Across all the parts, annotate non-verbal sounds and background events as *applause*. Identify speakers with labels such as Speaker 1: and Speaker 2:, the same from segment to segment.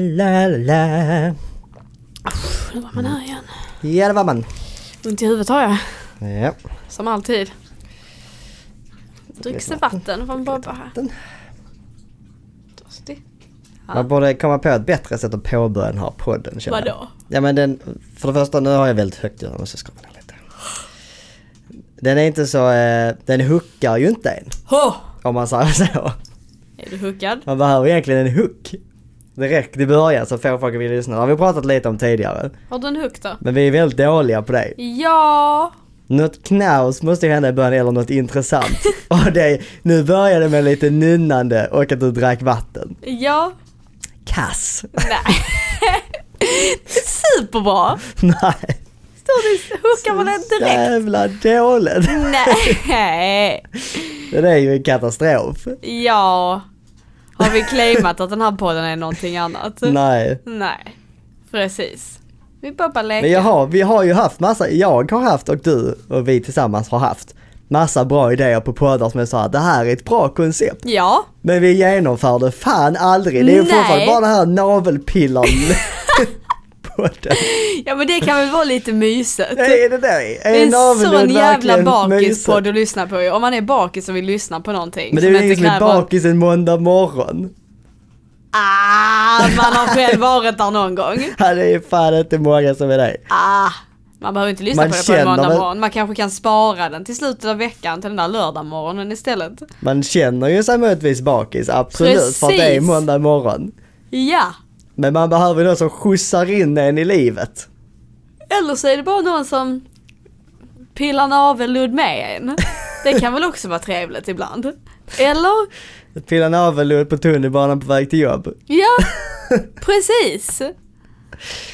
Speaker 1: Walalala.
Speaker 2: Usch, Nu var man här igen.
Speaker 1: Ja, det var man.
Speaker 2: Ont i huvudet har jag.
Speaker 1: Ja.
Speaker 2: Som alltid. Dricks det vatten från Bobba här?
Speaker 1: vatten.
Speaker 2: Törstig.
Speaker 1: Man borde komma på ett bättre sätt att påbörja den här podden. känner jag.
Speaker 2: Vadå?
Speaker 1: Ja men den, för det första nu har jag väldigt högt ljud, jag måste skruva ner lite. Den är inte så, eh, den hookar ju inte en.
Speaker 2: Ho!
Speaker 1: Om man säger så.
Speaker 2: Är du hookad?
Speaker 1: Man behöver egentligen en hook. Direkt i början så får folk att vilja lyssna. Det har vi pratat lite om tidigare.
Speaker 2: Har du en hook då?
Speaker 1: Men vi är väldigt dåliga på det.
Speaker 2: Ja!
Speaker 1: Något knas måste ju hända i början eller något *laughs* intressant. Och det, nu börjar det med lite nynnande och att du drack vatten.
Speaker 2: Ja!
Speaker 1: Kass.
Speaker 2: Nej. *laughs* Superbra!
Speaker 1: *laughs* Nej.
Speaker 2: Står du hookar man den direkt?
Speaker 1: Jävla dåligt.
Speaker 2: Nej!
Speaker 1: Det där är ju en katastrof.
Speaker 2: Ja. Har vi claimat att den här podden är någonting annat?
Speaker 1: Nej.
Speaker 2: Nej. Precis. Vi bara bara leker.
Speaker 1: Men jag har, vi har ju haft massa, jag har haft och du och vi tillsammans har haft massa bra idéer på poddar som är så här, det här är ett bra koncept.
Speaker 2: Ja.
Speaker 1: Men vi genomför det fan aldrig. Det är ju
Speaker 2: Nej.
Speaker 1: fortfarande bara den här
Speaker 2: *laughs*
Speaker 1: navelpillaren. podden.
Speaker 2: Ja men det kan väl vara lite mysigt.
Speaker 1: Nej, är det där?
Speaker 2: Det är en
Speaker 1: naveln
Speaker 2: sån jävla
Speaker 1: verkligen mysig?
Speaker 2: bakispodd att lyssna på liksom, ju. Om man är bakis och vill lyssna på någonting.
Speaker 1: Men det är ju ingen som är
Speaker 2: kräver-
Speaker 1: bakis en måndag morgon.
Speaker 2: Ah, man har själv varit där någon gång.
Speaker 1: Ja, det är fan inte många som är det.
Speaker 2: Ah. Man behöver inte lyssna
Speaker 1: Man
Speaker 2: på det på en
Speaker 1: känner
Speaker 2: måndag
Speaker 1: väl-
Speaker 2: morgon. Man kanske kan spara den till slutet av veckan till den där lördagmorgonen istället.
Speaker 1: Man känner ju sig möjligtvis bakis, absolut, för att det är
Speaker 2: Precis.
Speaker 1: måndag morgon.
Speaker 2: Ja.
Speaker 1: Men man behöver någon som skjutsar in en i livet.
Speaker 2: Eller så är det bara någon som pillar navelludd med en. Det kan väl också vara trevligt ibland. Eller?
Speaker 1: Pilla navelludd på tunnelbanan på väg till jobb. *laughs*
Speaker 2: Ja, precis.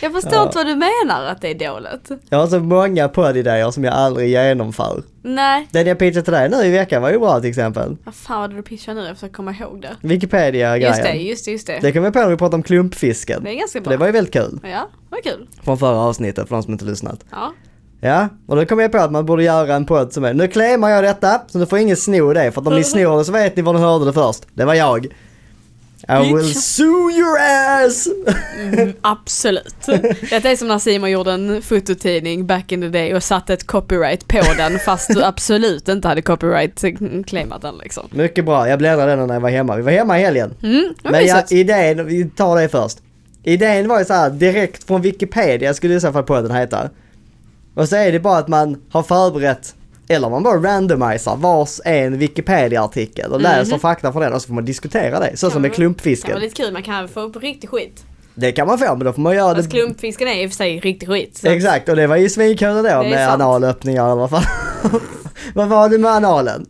Speaker 2: Jag förstår
Speaker 1: Ja.
Speaker 2: inte vad du menar att det är dåligt.
Speaker 1: Jag har så många poddidéer som jag aldrig genomför.
Speaker 2: Nej,
Speaker 1: Den jag pitchade till dig nu i veckan var ju bra till exempel.
Speaker 2: vad fan var det du pitchade nu? Jag försöker komma ihåg det.
Speaker 1: Wikipedia-grejen.
Speaker 2: Just det, just det, just det.
Speaker 1: Det kom jag på när vi pratade om klumpfisken.
Speaker 2: Det är ganska
Speaker 1: För det
Speaker 2: bra.
Speaker 1: var ju väldigt kul.
Speaker 2: Ja, vad kul.
Speaker 1: Från förra avsnittet, för de som inte lyssnat.
Speaker 2: Ja.
Speaker 1: Ja, och då kom jag på att man borde göra en podd som är, nu claimar jag detta, så nu får ingen sno det, för att om ni snor det så vet ni var ni hörde det först. Det var jag. I will sue your ass! *laughs*
Speaker 2: Mm, absolut. Detta är som när Simon gjorde en fototidning back in the day och satte ett copyright på den fast du absolut inte hade copyright-claimat den liksom.
Speaker 1: Mycket bra, jag bläddrade den när jag var hemma. Vi var hemma i helgen.
Speaker 2: Mm, vad
Speaker 1: Men jag,
Speaker 2: mysigt.
Speaker 1: idén, vi tar det först. Idén var ju så här direkt från Wikipedia skulle i så fall podden heta. Och så är det bara att man har förberett, eller man bara randomiserar vars en Wikipedia-artikel och läser fakta från den och så får man diskutera det. Så som med
Speaker 2: man- Det
Speaker 1: klumpfisken.
Speaker 2: kan vara lite kul, man kan få upp riktig skit.
Speaker 1: Det kan man få men då får man göra
Speaker 2: Fast
Speaker 1: det.
Speaker 2: klumpfisken är i och för sig riktig skit. Så.
Speaker 1: Exakt och det var ju svinkul då
Speaker 2: är
Speaker 1: med
Speaker 2: sant.
Speaker 1: analöppningar eller vad fan. *laughs* vad var det med analen?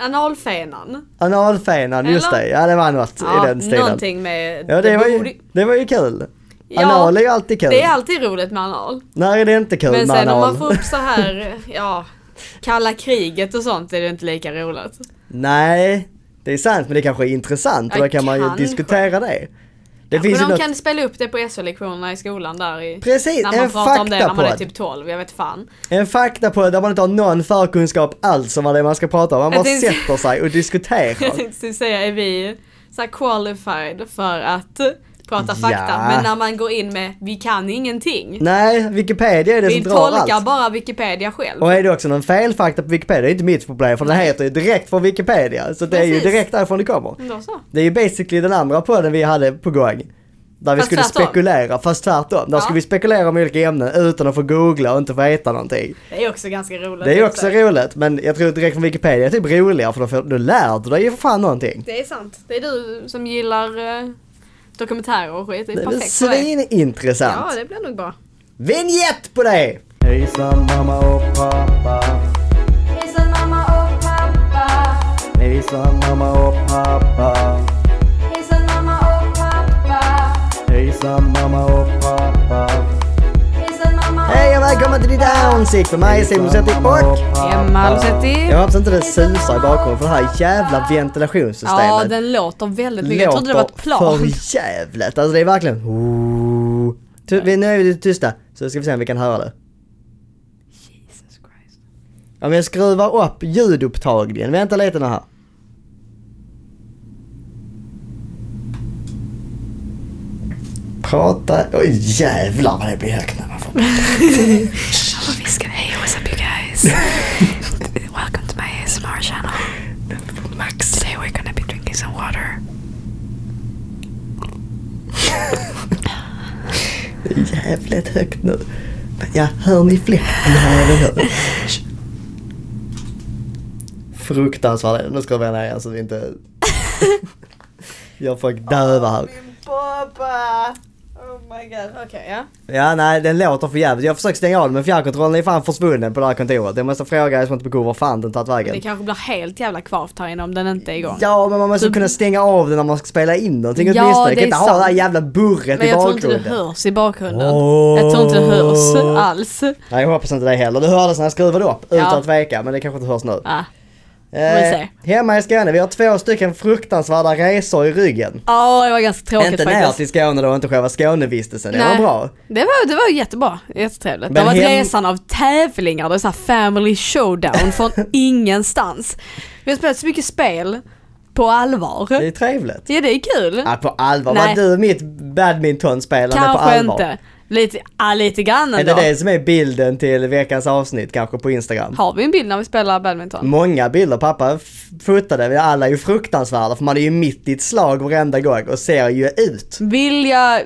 Speaker 2: Analfenan.
Speaker 1: Analfenan, just
Speaker 2: Eller?
Speaker 1: det. Ja det var något i
Speaker 2: Ja,
Speaker 1: den stilen.
Speaker 2: någonting med...
Speaker 1: Ja det var
Speaker 2: borde-
Speaker 1: ju, det var ju kul.
Speaker 2: Ja,
Speaker 1: anal är ju alltid kul.
Speaker 2: Det är alltid roligt med anal.
Speaker 1: När är det inte kul
Speaker 2: Men
Speaker 1: med
Speaker 2: sen om
Speaker 1: anal?
Speaker 2: man får upp så här, ja, kalla kriget och sånt är det inte lika roligt.
Speaker 1: *laughs* Nej, det är sant men det kanske är intressant och
Speaker 2: Ja,
Speaker 1: då kan man ju
Speaker 2: kanske.
Speaker 1: diskutera det. Det
Speaker 2: Men
Speaker 1: finns ju
Speaker 2: de
Speaker 1: något,
Speaker 2: kan spela upp det på SO-lektionerna i skolan där i...
Speaker 1: precis,
Speaker 2: När man
Speaker 1: en
Speaker 2: pratar om det när man är
Speaker 1: faktapodd.
Speaker 2: typ 12, jag vet fan.
Speaker 1: En faktapodd där man inte har någon förkunskap alls om vad det är man ska prata om. Man
Speaker 2: Jag
Speaker 1: bara
Speaker 2: tänkte-
Speaker 1: sätter sig och
Speaker 2: *laughs* Jag
Speaker 1: diskuterar.
Speaker 2: tänkte säga, är vi så här qualified för att prata fakta?
Speaker 1: Ja.
Speaker 2: Men när man går in med, vi kan ingenting.
Speaker 1: Nej, Wikipedia är det
Speaker 2: Vi
Speaker 1: som drar
Speaker 2: tolkar
Speaker 1: allt.
Speaker 2: bara Wikipedia själv.
Speaker 1: Och är det också någon felfakta på Wikipedia, det är inte mitt problem för den heter ju direkt från Wikipedia. Så det är ju
Speaker 2: Precis.
Speaker 1: direkt därifrån det kommer.
Speaker 2: Då så.
Speaker 1: Det är ju basically den andra podden vi hade på gång. Där vi
Speaker 2: Fast
Speaker 1: skulle
Speaker 2: tvärtom.
Speaker 1: spekulera, fast tvärtom. Där
Speaker 2: Ja.
Speaker 1: skulle vi spekulera om olika ämnen utan att få googla och inte få veta någonting.
Speaker 2: Det är också ganska roligt.
Speaker 1: Det är också roligt, men jag tror direkt från Wikipedia är typ roligare för då, får, då lär du dig ju för fan någonting.
Speaker 2: Det är sant. Det är du som gillar eh, dokumentärer och skit. Det är
Speaker 1: Det är väl
Speaker 2: perfekt för dig.
Speaker 1: svinintressant.
Speaker 2: Ja, det blir nog bra.
Speaker 1: Vignett på det! Hejsan mamma och pappa.
Speaker 3: Hejsan mamma och pappa.
Speaker 1: Hejsan mamma och pappa.
Speaker 3: Hejsan mamma och pappa.
Speaker 1: Hejsan mamma och pappa.
Speaker 3: Hejsan mamma
Speaker 1: Hej och välkommen till ditt Downsick för mig Simon Zetti och...
Speaker 2: Emma Lucetti.
Speaker 1: Jag hoppas inte det susar i bakgrunden för det här jävla ventilationssystemet.
Speaker 2: Ja, den låter väldigt mycket. Jag trodde det var
Speaker 1: låter
Speaker 2: ett plan.
Speaker 1: för jävligt. Alltså det är verkligen... Ty- vi- Nu är vi tysta, så ska vi se om vi kan höra det.
Speaker 2: Jesus Christ.
Speaker 1: Om jag skruvar upp ljudupptagningen, vänta lite nu här. prata. Oj jävlar vad det blir högt alltså. när man får
Speaker 4: Hello, Viscan. Hey, what's up, you guys? Welcome to my ASMR channel. Max. Today we're gonna be drinking some water.
Speaker 1: Det är jävligt högt nu. Men Ja, hör ni fler? Ja, det hör ni. Fruktansvärt. Nu ska vi ner igen så vi alltså, inte... Jag får döva här.
Speaker 2: Pappa! Oh my god. Okej, ja.
Speaker 1: Ja, nej, den låter för jävligt. Jag försöker stänga av den men fjärrkontrollen är fan försvunnen på det här kontoret. Jag måste fråga er som inte på var fan den tagit
Speaker 2: Det
Speaker 1: vägen.
Speaker 2: kanske blir helt jävla kvavt här inne om den inte är igång.
Speaker 1: Ja, men man måste
Speaker 2: Så-
Speaker 1: kunna stänga av den när man ska spela in någonting
Speaker 2: Ja,
Speaker 1: åtminstone. Jag
Speaker 2: det
Speaker 1: kan
Speaker 2: är
Speaker 1: inte ha
Speaker 2: sant.
Speaker 1: det här jävla burret
Speaker 2: Men
Speaker 1: i
Speaker 2: jag tror
Speaker 1: bakgrunden.
Speaker 2: inte det hörs i bakgrunden.
Speaker 1: Åh.
Speaker 2: Jag tror inte det hörs alls.
Speaker 1: Nej, jag hoppas inte det heller. Det hördes när jag skruvade upp,
Speaker 2: Ja.
Speaker 1: utan tveka. Men det kanske inte hörs nu.
Speaker 2: Ah. vi
Speaker 1: Eh,
Speaker 2: se.
Speaker 1: hemma i Skåne, vi har två stycken fruktansvärda resor i ryggen.
Speaker 2: Ja, det var ganska tråkigt
Speaker 1: inte ner
Speaker 2: faktiskt.
Speaker 1: till Skåne då, inte själva Skånevistelsen. Det var
Speaker 2: Nej.
Speaker 1: bra.
Speaker 2: Det var, det var jättebra, jättetrevligt.
Speaker 1: Men
Speaker 2: det var
Speaker 1: hem-
Speaker 2: resan av tävlingar, det var så här family
Speaker 1: *laughs*
Speaker 2: showdown från ingenstans. Vi har spelat så mycket spel, på allvar.
Speaker 1: Det är trevligt.
Speaker 2: Ja det är kul.
Speaker 1: Ja, på allvar.
Speaker 2: Nej.
Speaker 1: Var du mitt badmintonspelande på
Speaker 2: Kanske
Speaker 1: allvar?
Speaker 2: inte. Lite, ja, lite grann
Speaker 1: Är det
Speaker 2: ändå.
Speaker 1: det som är bilden till veckans avsnitt kanske på Instagram?
Speaker 2: Har vi en bild när vi spelar badminton?
Speaker 1: Många bilder pappa f- fotade, vi alla är ju fruktansvärda för man är ju mitt i ett slag varenda gång och ser ju ut.
Speaker 2: Vill jag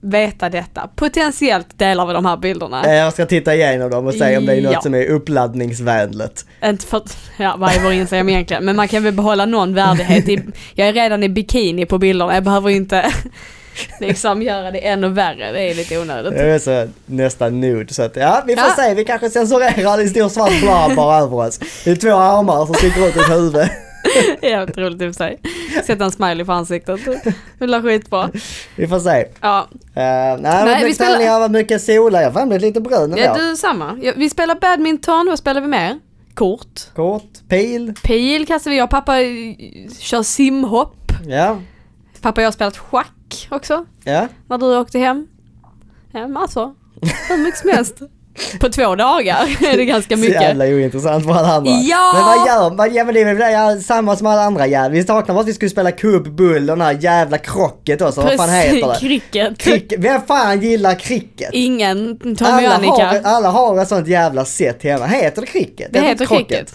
Speaker 2: veta detta? Potentiellt delar vi de här bilderna.
Speaker 1: Eh, Jag ska titta igenom dem och se om det är något
Speaker 2: Ja.
Speaker 1: som är uppladdningsvänligt.
Speaker 2: Inte för att, ja vad är vår Instagram egentligen? Men man kan väl behålla någon värdighet. I, jag är redan i bikini på bilderna, jag behöver inte *laughs* liksom göra det ännu värre. Det är lite onödigt. *laughs*
Speaker 1: Jag är så nästan nude så att ja, vi får
Speaker 2: Ja.
Speaker 1: se, vi kanske censurerar en stor svart blad bara över oss. Det är två armar som sticker ut ur ett huvud. *laughs*
Speaker 2: Det är jävligt roligt i och för sig. Sätta en smiley på ansiktet. Det lär skitbra.
Speaker 1: Vi får se.
Speaker 2: Ja,
Speaker 1: Uh, nej, nej,
Speaker 2: vi
Speaker 1: mycket vi
Speaker 2: spelar-
Speaker 1: spelar... jag var mycket sola, jag har fan blivit lite brun ändå.
Speaker 2: ja du samma. Ja, Vi spelar badminton, vad spelar vi mer? Kort.
Speaker 1: Kort, pil,
Speaker 2: Pil kastar vi, jag och pappa eh, kör simhopp.
Speaker 1: ja,
Speaker 2: Pappa och jag har spelat schack också,
Speaker 1: ja.
Speaker 2: när du åkte hem. Ja, massor. Hur mycket som helst. *laughs* På två dagar är det ganska
Speaker 1: Så
Speaker 2: mycket.
Speaker 1: jävla ointressant för alla andra.
Speaker 2: Ja!
Speaker 1: Men vad gör vad, ja, men det är väl det, ja, samma som alla andra jävlar. Vi saknar bara att vi skulle spela kubbbull och den här jävla krocket också. Vad fan heter det?
Speaker 2: cricket.
Speaker 1: Cricket. Vem fan gillar cricket?
Speaker 2: Ingen Tommy och
Speaker 1: Alla har,
Speaker 2: Annika.
Speaker 1: alla har ett sånt jävla sätt hemma. Heter det cricket?
Speaker 2: Det
Speaker 1: Heter
Speaker 2: heter
Speaker 1: krocket?
Speaker 2: cricket.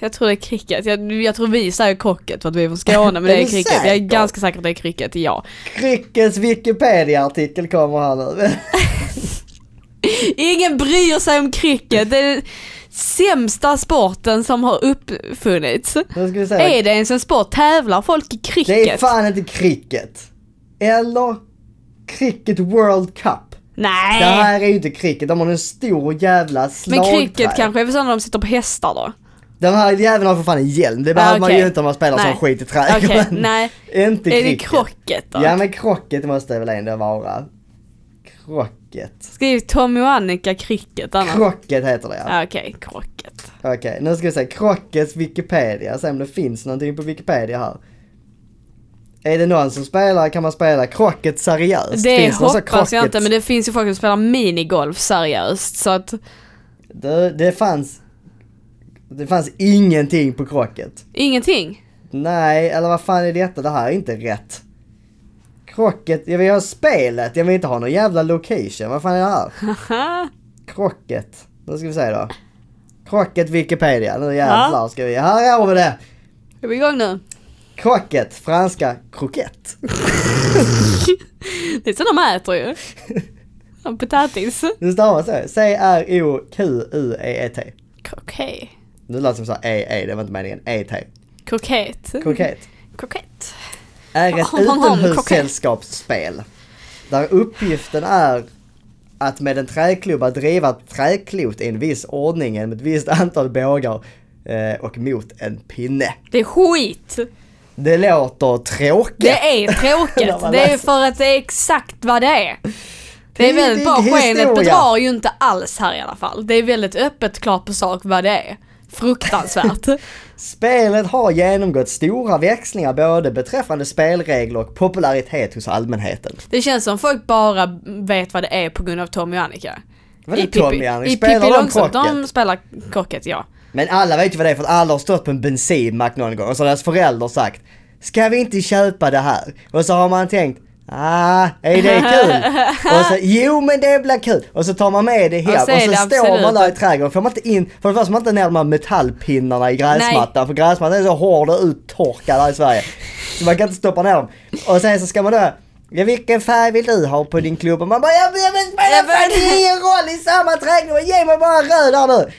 Speaker 2: Jag tror det är cricket. Jag, jag tror vi säger krocket för att
Speaker 1: *laughs*
Speaker 2: vi är från Skåne men det
Speaker 1: Är
Speaker 2: är
Speaker 1: du
Speaker 2: cricket. Jag är
Speaker 1: säker?
Speaker 2: ganska säker att det är cricket, ja.
Speaker 1: Crickets Wikipedia-artikel kommer här nu. *laughs*
Speaker 2: Ingen bryr sig om cricket. Det är den sämsta sporten som har uppfunnits.
Speaker 1: nu ska vi se.
Speaker 2: Är det ens en sport? Tävlar folk i cricket?
Speaker 1: Det är fan inte cricket. Eller cricket World Cup. Det
Speaker 2: Nej!
Speaker 1: här är ju inte cricket, de har en stor jävla
Speaker 2: Äh. Men
Speaker 1: slagträ.
Speaker 2: cricket kanske är för sådana de sitter på hästar då?
Speaker 1: Den här jäveln har för fan en hjälm, det behöver man
Speaker 2: Ah, okej.
Speaker 1: ju inte om man spelar
Speaker 2: Nej.
Speaker 1: som skit i
Speaker 2: Okej,
Speaker 1: trädgården.
Speaker 2: nej.
Speaker 1: *laughs* Inte
Speaker 2: Är det
Speaker 1: cricket.
Speaker 2: krocket då?
Speaker 1: Ja men krocket måste väl ändå vara. Krocket.
Speaker 2: Skriv Tommy och Annika cricket annars.
Speaker 1: Krocket heter det ja.
Speaker 2: Ja, Okej, krocket.
Speaker 1: Okej, nu ska vi se. Krockets Wikipedia, se om det finns någonting på Wikipedia här. Är det någon som spelar kan man spela krocket seriöst.
Speaker 2: Det
Speaker 1: finns någon sån
Speaker 2: hoppas jag
Speaker 1: krocket-
Speaker 2: inte men det finns ju folk som spelar minigolf seriöst så att
Speaker 1: Du, det fanns... Det fanns ingenting på krocket.
Speaker 2: ingenting.
Speaker 1: Nej, eller vad fan är detta? Det här är inte rätt. Krocket, jag vill ha spelet, jag vill inte ha någon jävla location. Vad fan är det här?
Speaker 2: Haha.
Speaker 1: Krocket. Nu ska vi se då. Krocket Wikipedia, nu jävlar ska vi, här har vi det!
Speaker 2: Är vi
Speaker 1: *laughs*
Speaker 2: igång nu?
Speaker 1: Krocket, franska croquette.
Speaker 2: Det är så de äter ju. Som Potatis.
Speaker 1: Det stavas så, C-R-O-Q-U-E-E-T.
Speaker 2: Kroket.
Speaker 1: Det lät som så här E-E, det var inte meningen, E-T.
Speaker 2: Kroket.
Speaker 1: Kroket.
Speaker 2: Kroket.
Speaker 1: är ett
Speaker 2: Hon- hon har en
Speaker 1: utomhussällskapsspel. Där uppgiften är att med en träklubba driva ett träklot i en viss ordning genom ett visst antal bågar eh, och mot en pinne.
Speaker 2: Det är skit.
Speaker 1: Det låter tråkigt.
Speaker 2: Det
Speaker 1: *laughs*
Speaker 2: är tråkigt. Det är för att det är exakt vad det är. Det är väldigt bra.
Speaker 1: Tidig
Speaker 2: Skenet
Speaker 1: historia.
Speaker 2: bedrar ju inte alls här i alla fall. Det är väldigt öppet klart på sak vad det är. Fruktansvärt.
Speaker 1: *laughs* Spelet har genomgått stora växlingar både beträffande spelregler och popularitet hos allmänheten.
Speaker 2: Det känns som folk bara vet vad det är på grund av Tommy och Annika.
Speaker 1: Vadå
Speaker 2: I
Speaker 1: Tommy
Speaker 2: Pippi-
Speaker 1: och Annika?
Speaker 2: i
Speaker 1: Spelar
Speaker 2: Pippi
Speaker 1: de
Speaker 2: Långstrump. De
Speaker 1: krocket?
Speaker 2: spelar krocket, ja.
Speaker 1: Men alla vet ju vad det är för att alla har stått på en bensinmack någon gång och så har deras föräldrar sagt Ska vi inte köpa det här? Och så har man tänkt Ah, är det
Speaker 2: *laughs*
Speaker 1: kul? och så, jo men det blir kul! Och så tar man med det hem
Speaker 2: Och
Speaker 1: och
Speaker 2: så
Speaker 1: så,
Speaker 2: är det
Speaker 1: står man
Speaker 2: absolut-
Speaker 1: där i trädgården. Får man inte in, för det första får man inte ner de här metallpinnarna i gräsmattan för gräsmattan är så hård och uttorkad här i Sverige. Så man kan inte stoppa ner dem. Och sen så ska man då Ja, vilken färg vill du ha på din klubba? Man bara, jag vet inte, det spelar ingen roll i samma trädgård, ge mig bara en röd här nu!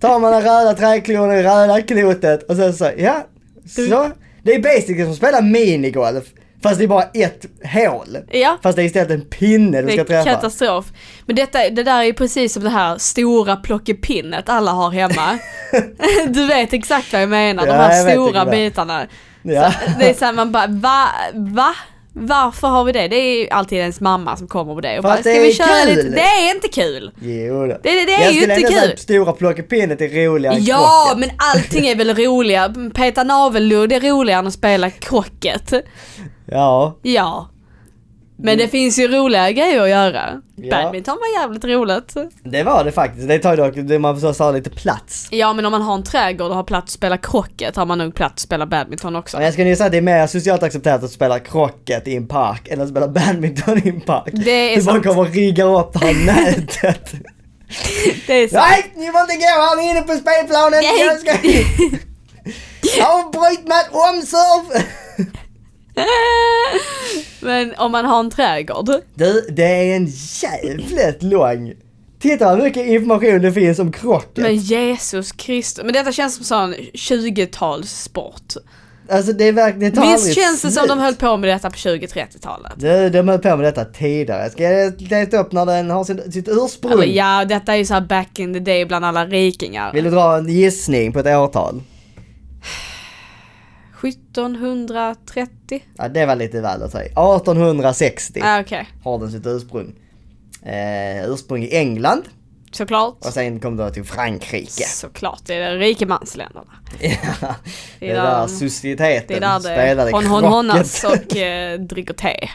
Speaker 1: Tar man den röda trädklon och det röda klotet och sen så, ja, så. Det är basically som att spela minigolf, fast det är bara ett hål.
Speaker 2: Ja.
Speaker 1: Fast det är istället en pinne du
Speaker 2: Det
Speaker 1: ska
Speaker 2: är
Speaker 1: träffa.
Speaker 2: katastrof. Men detta, det där är ju precis som det här stora plockepinnet alla
Speaker 1: *laughs*
Speaker 2: har hemma. du vet exakt vad jag menar, de
Speaker 1: Ja, jag
Speaker 2: här
Speaker 1: vet
Speaker 2: stora
Speaker 1: exakt.
Speaker 2: bitarna.
Speaker 1: Ja.
Speaker 2: Det är såhär man bara va, va? Varför har vi det? Det är ju alltid ens mamma som kommer på det
Speaker 1: För
Speaker 2: och bara,
Speaker 1: att det
Speaker 2: ska vi
Speaker 1: är
Speaker 2: köra
Speaker 1: kul."
Speaker 2: lite? Det är inte kul!
Speaker 1: *laughs* Jo då.
Speaker 2: Det- det- det är
Speaker 1: jag
Speaker 2: ju
Speaker 1: skulle
Speaker 2: inte
Speaker 1: ändå säga
Speaker 2: kul.
Speaker 1: att Stora plockepinnet är roligare än
Speaker 2: Ja,
Speaker 1: krocket.
Speaker 2: men allting är väl roliga. Peta navelludd är roligare än att spela krocket.
Speaker 1: Ja.
Speaker 2: Ja. Men det finns ju roliga grejer att göra.
Speaker 1: Mm. Ja.
Speaker 2: Badminton var jävligt roligt.
Speaker 1: Det var det faktiskt. Det tar ju dock, det- man får ha lite plats.
Speaker 2: Ja men om man har en trädgård och har plats att spela krocket har man nog plats att spela badminton också.
Speaker 1: Men jag skulle ju säga att det är mer socialt accepterat att spela krocket i en park än att spela badminton i en park.
Speaker 2: Det är
Speaker 1: du bara
Speaker 2: sant.
Speaker 1: kommer och riggar upp det här nätet.
Speaker 2: Det är sant.
Speaker 1: Nej, ni får inte gå, han är inne på spelplanen.
Speaker 2: Nej.
Speaker 1: Jag ska...
Speaker 2: *laughs*
Speaker 1: Avbryt mig omsurf!
Speaker 2: *laughs* Men om man har en trädgård.
Speaker 1: Du, det är en jävligt lång. Titta vad mycket information det finns om krocket.
Speaker 2: Men Jesus Kristus. Men detta känns som sån 20-talssport.
Speaker 1: Alltså det är verkligen, det tar
Speaker 2: Visst
Speaker 1: aldrig
Speaker 2: känns det som
Speaker 1: slut.
Speaker 2: de höll på med detta på 20-30-talet?
Speaker 1: Du, de höll på med detta tidigare. Ska jag leta upp när den har sin, sitt ursprung?
Speaker 2: Eller, ja, detta är ju så här back in the day bland alla rikingar.
Speaker 1: Vill du dra en gissning på ett årtal?
Speaker 2: 1730?
Speaker 1: Ja, det var lite väl att säga. 1860
Speaker 2: Ja, ah, okej.
Speaker 1: har den sitt ursprung. Eh, ursprung i England
Speaker 2: Såklart.
Speaker 1: och sen kom det till Frankrike.
Speaker 2: Såklart, det är de rikemansländerna.
Speaker 1: Ja, det
Speaker 2: är
Speaker 1: är
Speaker 2: där-
Speaker 1: där societeten
Speaker 2: Det är där det
Speaker 1: spelade
Speaker 2: hon hon
Speaker 1: krocket. *laughs*
Speaker 2: honnas och eh, dricker te.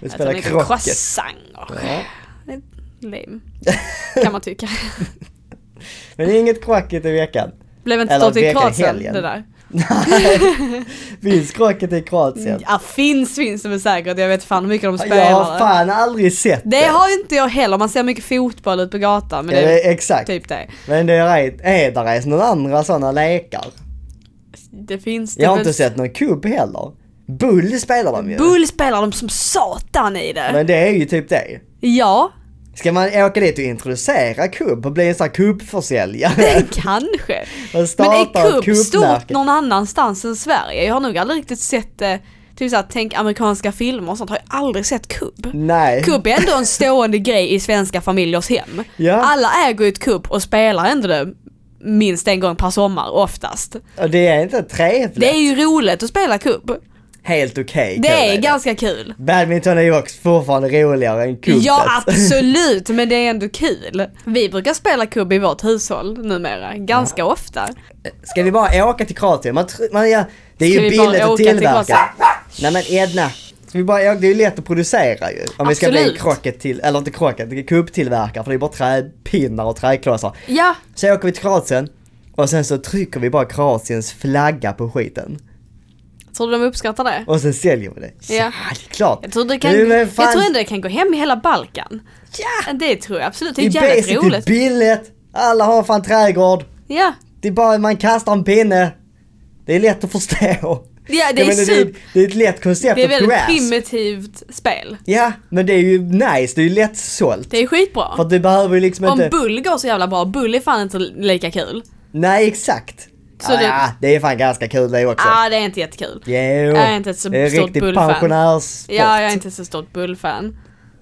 Speaker 1: Vi
Speaker 2: Äter
Speaker 1: spelade
Speaker 2: mycket
Speaker 1: krocket.
Speaker 2: croissanter.
Speaker 1: Ja.
Speaker 2: Lame. Kan
Speaker 1: *laughs*
Speaker 2: man tycka.
Speaker 1: Men det är inget krocket i veckan.
Speaker 2: Blev inte
Speaker 1: Eller
Speaker 2: stått i
Speaker 1: veckan,
Speaker 2: Kroatien
Speaker 1: helgen.
Speaker 2: det där?
Speaker 1: Nej. Finns krocket i Kroatien?
Speaker 2: Mm, Ja finns finns det väl säkert, jag vet fan hur mycket de spelar.
Speaker 1: Jag har fan aldrig sett det.
Speaker 2: det har inte jag heller, man ser mycket fotboll ute på gatan men
Speaker 1: Ja,
Speaker 2: det är
Speaker 1: exakt.
Speaker 2: typ det.
Speaker 1: Men det är, rätt- är det ens några andra sådana lekar?
Speaker 2: Det finns det
Speaker 1: Jag har
Speaker 2: väl-
Speaker 1: inte sett någon kubb heller. Bull spelar de ju.
Speaker 2: Typ Bull spelar de som satan i det.
Speaker 1: Men det är ju typ det.
Speaker 2: Ja,
Speaker 1: Ska man åka dit och introducera kubb och bli en sån här kubbförsäljare?
Speaker 2: kanske.
Speaker 1: *laughs* Och
Speaker 2: Men är
Speaker 1: starta ett
Speaker 2: kubb stort
Speaker 1: kubbmärke?
Speaker 2: någon annanstans än Sverige? Jag har nog aldrig riktigt sett det. Typ såhär, tänk amerikanska filmer och sånt, har jag aldrig sett kubb.
Speaker 1: Nej.
Speaker 2: Kubb är ändå
Speaker 1: *laughs*
Speaker 2: en stående grej i svenska familjers hem.
Speaker 1: Ja.
Speaker 2: Alla äger ju ett kubb och spelar ändå det minst en gång per sommar oftast.
Speaker 1: Och det är inte trevligt.
Speaker 2: Det är ju roligt att spela kubb.
Speaker 1: Helt okej.
Speaker 2: Det
Speaker 1: kul
Speaker 2: är ganska kul.
Speaker 1: Badminton är ju också fortfarande roligare än kubbet.
Speaker 2: Ja absolut, men det är ändå kul. Vi brukar spela kubb i vårt hushåll numera, ganska ofta.
Speaker 1: *laughs* Ska vi bara åka till Kroatien? Man, tr- man, ja, det är
Speaker 2: Ska
Speaker 1: ju
Speaker 2: vi bara
Speaker 1: billigt att
Speaker 2: åka till
Speaker 1: tillverka.
Speaker 2: Kroatien?
Speaker 1: Nej men Edna. Ska vi bara, åka? det är ju lätt att producera ju. Om vi ska bli
Speaker 2: Absolut.
Speaker 1: krocket till, eller inte krocket, kubbtillverkare för det är bara träpinnar och träklossar.
Speaker 2: Ja,
Speaker 1: Så åker vi till Kroatien och sen så trycker vi bara Kroatiens flagga på skiten.
Speaker 2: tror du de uppskattar det?
Speaker 1: Och sen säljer vi det.
Speaker 2: Ja.
Speaker 1: det är klart.
Speaker 2: Jag tror, det kan,
Speaker 1: Du, men
Speaker 2: jag
Speaker 1: fan,
Speaker 2: tror ändå det kan gå hem i hela Balkan.
Speaker 1: Ja!
Speaker 2: Det tror jag absolut, det
Speaker 1: Det
Speaker 2: är
Speaker 1: är
Speaker 2: jävligt
Speaker 1: basically
Speaker 2: roligt.
Speaker 1: billigt. Alla har fan trädgård.
Speaker 2: Ja.
Speaker 1: Det är bara man kastar en pinne. Det är lätt att förstå.
Speaker 2: Ja, det
Speaker 1: Jag
Speaker 2: är
Speaker 1: menar, det, är,
Speaker 2: super-
Speaker 1: det är ett lätt koncept
Speaker 2: Det är
Speaker 1: att
Speaker 2: väldigt
Speaker 1: grasp.
Speaker 2: primitivt spel.
Speaker 1: Ja, men det är ju nice. Det är ju lättsålt.
Speaker 2: Det är skitbra.
Speaker 1: För att du behöver ju liksom
Speaker 2: Om
Speaker 1: inte...
Speaker 2: Bull går så jävla bra, Bull är fan inte lika kul.
Speaker 1: Nej, exakt.
Speaker 2: Så
Speaker 1: ja,
Speaker 2: det-
Speaker 1: ja, det är fan ganska kul det också.
Speaker 2: Ah, det är inte jättekul.
Speaker 1: Jo,
Speaker 2: jag är inte ett så
Speaker 1: det är
Speaker 2: stort
Speaker 1: riktigt
Speaker 2: bullfan.
Speaker 1: pensionärssport.
Speaker 2: Ja, jag är inte så stort Bull-fan.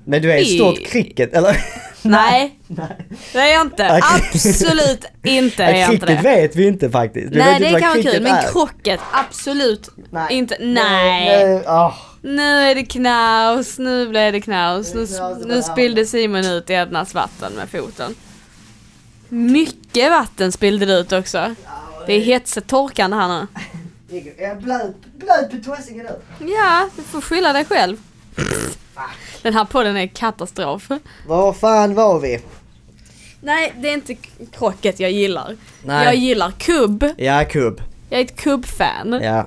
Speaker 1: Men du är ett
Speaker 2: I-
Speaker 1: stort cricket, eller?
Speaker 2: Nej,
Speaker 1: Nej.
Speaker 2: det är jag inte.
Speaker 1: Okej.
Speaker 2: Absolut inte är
Speaker 1: Ja,
Speaker 2: jag inte
Speaker 1: cricket
Speaker 2: *laughs* det.
Speaker 1: vet vi inte faktiskt. Vi
Speaker 2: Nej
Speaker 1: vet inte
Speaker 2: det
Speaker 1: vad
Speaker 2: kan vara kul
Speaker 1: cricket
Speaker 2: men
Speaker 1: är.
Speaker 2: krocket absolut
Speaker 1: Nej.
Speaker 2: inte.
Speaker 1: Nej,
Speaker 2: Nej.
Speaker 1: nej, ah.
Speaker 2: Nu är det knaus, nu blev det knaus. Nu, nu spillde Simon ut Ednas vatten med foten. Mycket vatten spillde du ut också. Det är hetsetorkan här nu.
Speaker 1: Jag är blöt, blöt på tossingen nu.
Speaker 2: Ja, du får skylla dig själv. Den här podden är katastrof.
Speaker 1: Var fan var vi?
Speaker 2: Nej, det är inte k- krocket jag gillar.
Speaker 1: Nej.
Speaker 2: Jag gillar kubb.
Speaker 1: Ja, kubb.
Speaker 2: Jag är ett kubbfan.
Speaker 1: Ja.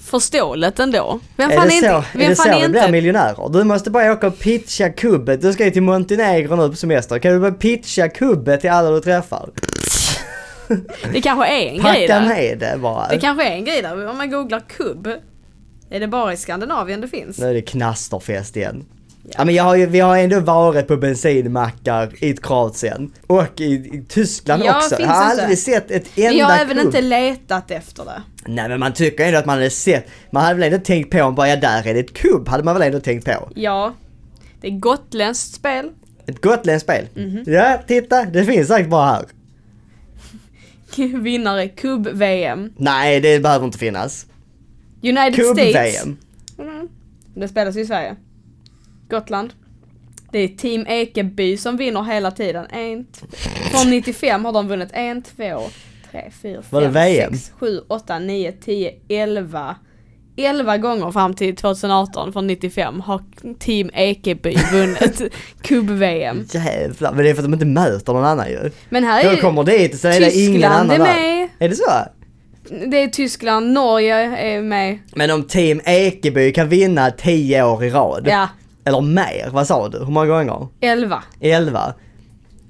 Speaker 2: förståeligt ändå. Vem
Speaker 1: är
Speaker 2: fan
Speaker 1: det
Speaker 2: inte...
Speaker 1: så, är
Speaker 2: vem
Speaker 1: det så
Speaker 2: fan
Speaker 1: vi blir
Speaker 2: inte...
Speaker 1: miljonärer? Du måste bara åka och pitcha kubbet. Du ska ju till Montenegro nu på semester. Kan du bara pitcha kubbet till alla du träffar?
Speaker 2: Det kanske är en grej
Speaker 1: Packa
Speaker 2: där.
Speaker 1: med det bara.
Speaker 2: Det kanske är en grej där. Om man googlar kubb. Är det bara i Skandinavien det finns?
Speaker 1: Nu är det knasterfest igen. Ja, men jag har ju, vi har ändå varit på bensinmackar i Kroatien och i, i Tyskland
Speaker 2: Ja,
Speaker 1: också.
Speaker 2: finns
Speaker 1: Jag har
Speaker 2: inte.
Speaker 1: aldrig sett ett enda
Speaker 2: Men jag har även
Speaker 1: kubb.
Speaker 2: inte letat efter det.
Speaker 1: Nej men man tycker ändå att man hade sett, man hade väl ändå tänkt på om bara ja, där är det ett kubb, hade man väl ändå tänkt på.
Speaker 2: Ja. Det är gotländskt spel. *laughs*
Speaker 1: Ett gotländskt spel.
Speaker 2: Mhm.
Speaker 1: Ja, titta, det finns säkert bara här.
Speaker 2: Vinnare kubb-VM.
Speaker 1: Nej, det behöver inte finnas.
Speaker 2: United States.
Speaker 1: Kubb-VM.
Speaker 2: Mm. Det spelas ju i Sverige. Gotland. Det är Team Ekeby som vinner hela tiden. En, t- från 95 har de vunnit en, två, tre, fyra,
Speaker 1: Var det
Speaker 2: fem,
Speaker 1: VM?
Speaker 2: sex, sju, åtta, nio, tio, elva. Elva gånger fram till 2018 från 95 har Team
Speaker 1: *laughs*
Speaker 2: Ekeby vunnit kubb-VM.
Speaker 1: Jävlar, men det är för att de inte möter någon annan ju.
Speaker 2: Men här är
Speaker 1: De
Speaker 2: ju
Speaker 1: kommer dit och så är det ingen
Speaker 2: Tyskland
Speaker 1: annan
Speaker 2: är
Speaker 1: där.
Speaker 2: med.
Speaker 1: Är det så?
Speaker 2: Det är Tyskland, Norge är med.
Speaker 1: Men om Team Ekeby kan vinna 10 år i rad,
Speaker 2: Ja,
Speaker 1: eller mer, vad sa du? Hur många gånger?
Speaker 2: elva.
Speaker 1: 11?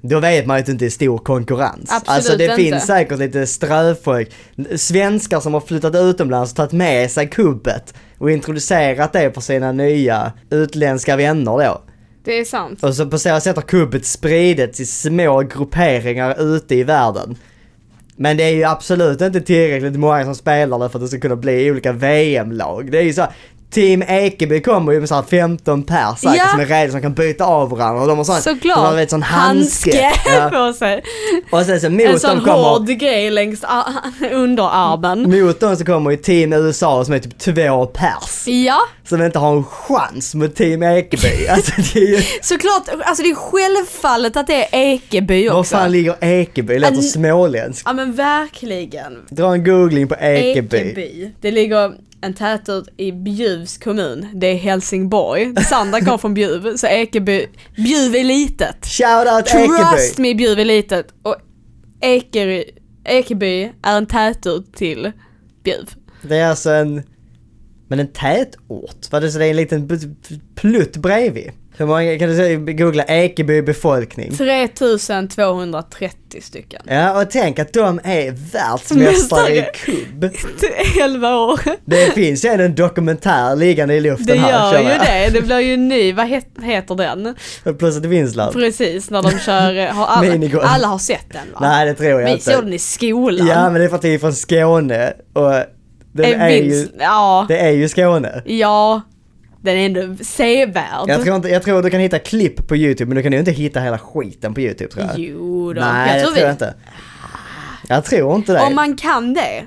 Speaker 1: Då vet man ju att det inte är stor konkurrens.
Speaker 2: Absolut
Speaker 1: alltså det
Speaker 2: inte.
Speaker 1: finns säkert lite ströfolk, svenskar som har flyttat utomlands och tagit med sig kubbet och introducerat det för sina nya utländska vänner då.
Speaker 2: Det är sant.
Speaker 1: Och så på så sätt har kubbet spridits i små grupperingar ute i världen. Men det är ju absolut inte tillräckligt många som spelar det för att det ska kunna bli olika VM-lag. Det är ju så här, Team Ekeby kommer ju med såhär 15 pers säkert
Speaker 2: Ja.
Speaker 1: som är redo som kan byta av varandra och de har sån,
Speaker 2: Såklart!
Speaker 1: De har, vet, sån handske. Ja.
Speaker 2: *laughs* på sig.
Speaker 1: Och sen så
Speaker 2: En
Speaker 1: mot
Speaker 2: sån
Speaker 1: dem kommer,
Speaker 2: hård grej längs a- *laughs* underarmen.
Speaker 1: mot dem så kommer ju Team USA som är typ två pers.
Speaker 2: Ja,
Speaker 1: Som inte har en chans mot Team Ekeby. Alltså det är ju,
Speaker 2: såklart. Alltså det är självfallet att det är Ekeby
Speaker 1: var
Speaker 2: också.
Speaker 1: fan ligger Ekeby? Det Låter
Speaker 2: An-
Speaker 1: småländskt.
Speaker 2: Ja men verkligen.
Speaker 1: Dra en googling på Ekeby.
Speaker 2: Ekeby. Det ligger en tätort i Bjuvs kommun. Det är Helsingborg. Sandra kom från Bjuv, så Ekeby. Bjuv är litet.
Speaker 1: Shoutout
Speaker 2: Trust
Speaker 1: Ekeby!
Speaker 2: me Bjuv är litet och Ekeby, Ekeby är en tätort till Bjuv.
Speaker 1: Det är alltså en... Men en tätort? Vad det så det är en liten p- p- plutt bredvid? Hur många, kan du säga, googla Ekeby befolkning?
Speaker 2: 3230 stycken. *laughs*
Speaker 1: Ja, och tänk att de är världsmästare i
Speaker 2: Mästare.
Speaker 1: kubb.
Speaker 2: 11 år.
Speaker 1: Det finns ju en dokumentär liggande i luften
Speaker 2: Det
Speaker 1: här
Speaker 2: gör
Speaker 1: känner
Speaker 2: ju
Speaker 1: jag.
Speaker 2: det. Det blir ju en ny, vad het, heter den?
Speaker 1: *laughs* Plus att det finns land.
Speaker 2: Precis, när de kör, eh, har alla,
Speaker 1: Minigolf.
Speaker 2: alla har sett den va?
Speaker 1: Nej, det tror jag
Speaker 2: Vi såg
Speaker 1: inte.
Speaker 2: den i skolan.
Speaker 1: Ja, men det är för att vi är från Skåne och det
Speaker 2: en
Speaker 1: är ju,
Speaker 2: vinst, ja.
Speaker 1: det är ju Skåne.
Speaker 2: ja. Den är ändå sevärd.
Speaker 1: Jag tror, inte, jag tror du kan hitta klipp på YouTube, men du kan ju inte hitta hela skiten på YouTube tror jag.
Speaker 2: Jo då.
Speaker 1: Nej,
Speaker 2: jag
Speaker 1: det
Speaker 2: tror
Speaker 1: tror jag
Speaker 2: vi,
Speaker 1: inte. Jag tror inte det.
Speaker 2: Om man kan det.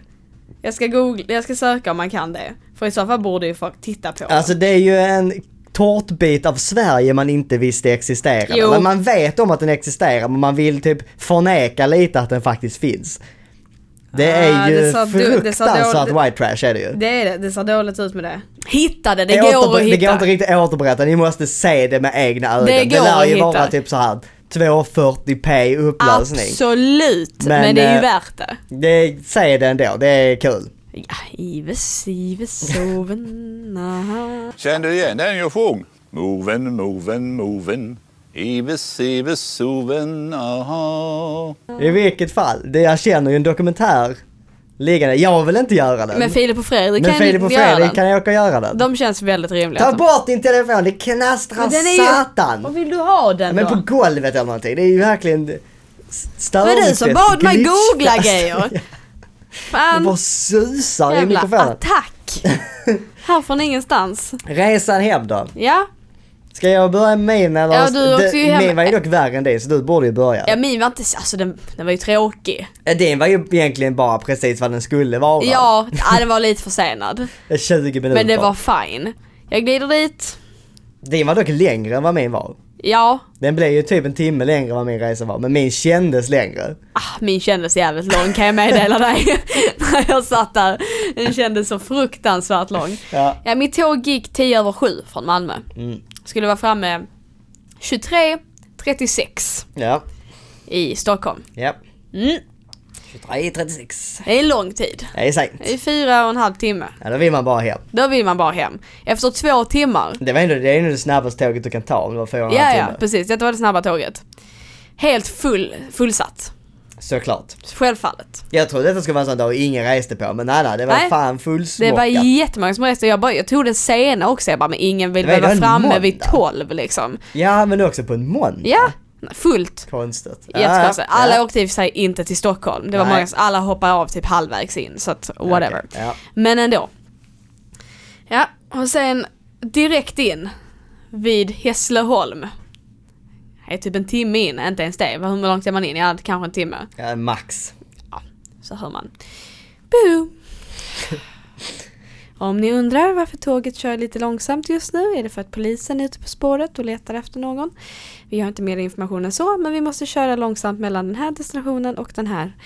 Speaker 2: Jag ska, googla, jag ska söka om man kan det. För i så fall borde ju folk titta på
Speaker 1: Alltså det är ju en tårtbit av Sverige man inte visste existerade.
Speaker 2: Jo.
Speaker 1: Men man vet om att den existerar, men man vill typ förneka lite att den faktiskt finns. Det
Speaker 2: Ah,
Speaker 1: är ju
Speaker 2: det sa du- det sa
Speaker 1: fruktansvärt
Speaker 2: du-
Speaker 1: white trash är det ju.
Speaker 2: det. Det är det, det ser dåligt ut med det. Hitta det, det
Speaker 1: Jag
Speaker 2: går
Speaker 1: återber-
Speaker 2: att hitta.
Speaker 1: det går inte riktigt att återberätta, ni måste se det med egna ögon.
Speaker 2: Det går
Speaker 1: lär ju
Speaker 2: att
Speaker 1: vara
Speaker 2: hitta.
Speaker 1: typ så här 240p upplösning.
Speaker 2: Absolut, men,
Speaker 1: Men,
Speaker 2: det är ju
Speaker 1: eh,
Speaker 2: värt det.
Speaker 1: Det, se det ändå, det är kul.
Speaker 2: Ja, Ives, Ives, soven, *laughs* aha.
Speaker 5: Känner du igen den jag sjöng? Moven, moven, moven. Ives, Ives, soven, aha.
Speaker 1: I vilket fall, det, jag känner ju en dokumentär liggande. Jag vill inte göra den.
Speaker 2: Men Filip och Fredrik
Speaker 1: Men
Speaker 2: kan
Speaker 1: Filip och
Speaker 2: göra
Speaker 1: Fredrik
Speaker 2: den.
Speaker 1: kan jag åka och göra den.
Speaker 2: De känns väldigt rimliga.
Speaker 1: Ta bort din telefon, det knastrar
Speaker 2: Men den är ju- Vad
Speaker 1: satan!
Speaker 2: vill du ha den
Speaker 1: Men
Speaker 2: då?
Speaker 1: på golvet eller någonting, det är ju verkligen
Speaker 2: Det
Speaker 1: störningsfest.
Speaker 2: var du som bad mig
Speaker 1: glitchfest.
Speaker 2: googla
Speaker 1: *laughs*
Speaker 2: grejer.
Speaker 1: Det Alltså, bara
Speaker 2: Fan,
Speaker 1: susar i
Speaker 2: jävla
Speaker 1: mikrofonen. *laughs*
Speaker 2: attack. Här från ingenstans.
Speaker 1: Resan hem då.
Speaker 2: Ja,
Speaker 1: Ska jag börja med min eller?
Speaker 2: Ja, du åkte ju hem-
Speaker 1: Min var ju dock värre än din så du borde ju börja.
Speaker 2: Ja min var inte, alltså den, den var ju tråkig.
Speaker 1: Din var ju egentligen bara precis vad den skulle vara.
Speaker 2: Ja, ja den var
Speaker 1: *laughs*
Speaker 2: lite försenad.
Speaker 1: 20 minuter.
Speaker 2: Men det var fine. Jag glider dit,
Speaker 1: Din var dock längre än vad min var.
Speaker 2: ja.
Speaker 1: Den blev ju typ en timme längre än vad min resa var, men min kändes längre.
Speaker 2: Ah, min kändes jävligt lång kan jag meddela dig. *laughs* När jag satt där. Den kändes så fruktansvärt lång.
Speaker 1: Ja.
Speaker 2: Ja, mitt tåg gick 10 över 7 från Malmö.
Speaker 1: Mm.
Speaker 2: Skulle vara framme 23.36
Speaker 1: Ja.
Speaker 2: i Stockholm.
Speaker 1: Ja.
Speaker 2: Mm.
Speaker 1: 23.36.
Speaker 2: Det är en lång tid.
Speaker 1: Det är sent.
Speaker 2: Det är fyra och en halv timme.
Speaker 1: Ja, då vill man bara hem.
Speaker 2: Då vill man bara hem. Efter två timmar.
Speaker 1: Det, var ändå, det är ändå det snabbaste tåget du kan ta om det var fyra och en
Speaker 2: Ja,
Speaker 1: halv
Speaker 2: ja,
Speaker 1: timme.
Speaker 2: precis. Detta var det snabba tåget. Helt full, fullsatt.
Speaker 1: Såklart.
Speaker 2: Självfallet.
Speaker 1: Jag trodde detta skulle vara en sån dag ingen reste på, men nej, nej det var
Speaker 2: Nej.
Speaker 1: fan
Speaker 2: Det
Speaker 1: fullsmockat.
Speaker 2: var jättemånga som reste. Jag, bara, jag tog det sena också. Jag bara, men ingen vill
Speaker 1: Det var ju
Speaker 2: behöva
Speaker 1: en
Speaker 2: framme
Speaker 1: måndag.
Speaker 2: vid tolv liksom.
Speaker 1: Ja, men också på en måndag.
Speaker 2: Ja, fullt.
Speaker 1: Konstigt. Ja,
Speaker 2: Jättekonstigt. Alla
Speaker 1: ja.
Speaker 2: åkte i och för sig inte till Stockholm. Det var
Speaker 1: Nej.
Speaker 2: många, som- alla hoppade av typ halvvägs in. Så att whatever.
Speaker 1: Okej, ja.
Speaker 2: Men ändå. Ja, och sen direkt in vid Hässleholm. Det är typ en timme in, inte ens det. Hur långt är man in? Ja, kanske en timme.
Speaker 1: Ja, max.
Speaker 2: Så hör man. Boom! Om ni undrar varför tåget kör lite långsamt just nu är det för att polisen är ute på spåret och letar efter någon. Vi har inte mer information än så men vi måste köra långsamt mellan den här destinationen och den här.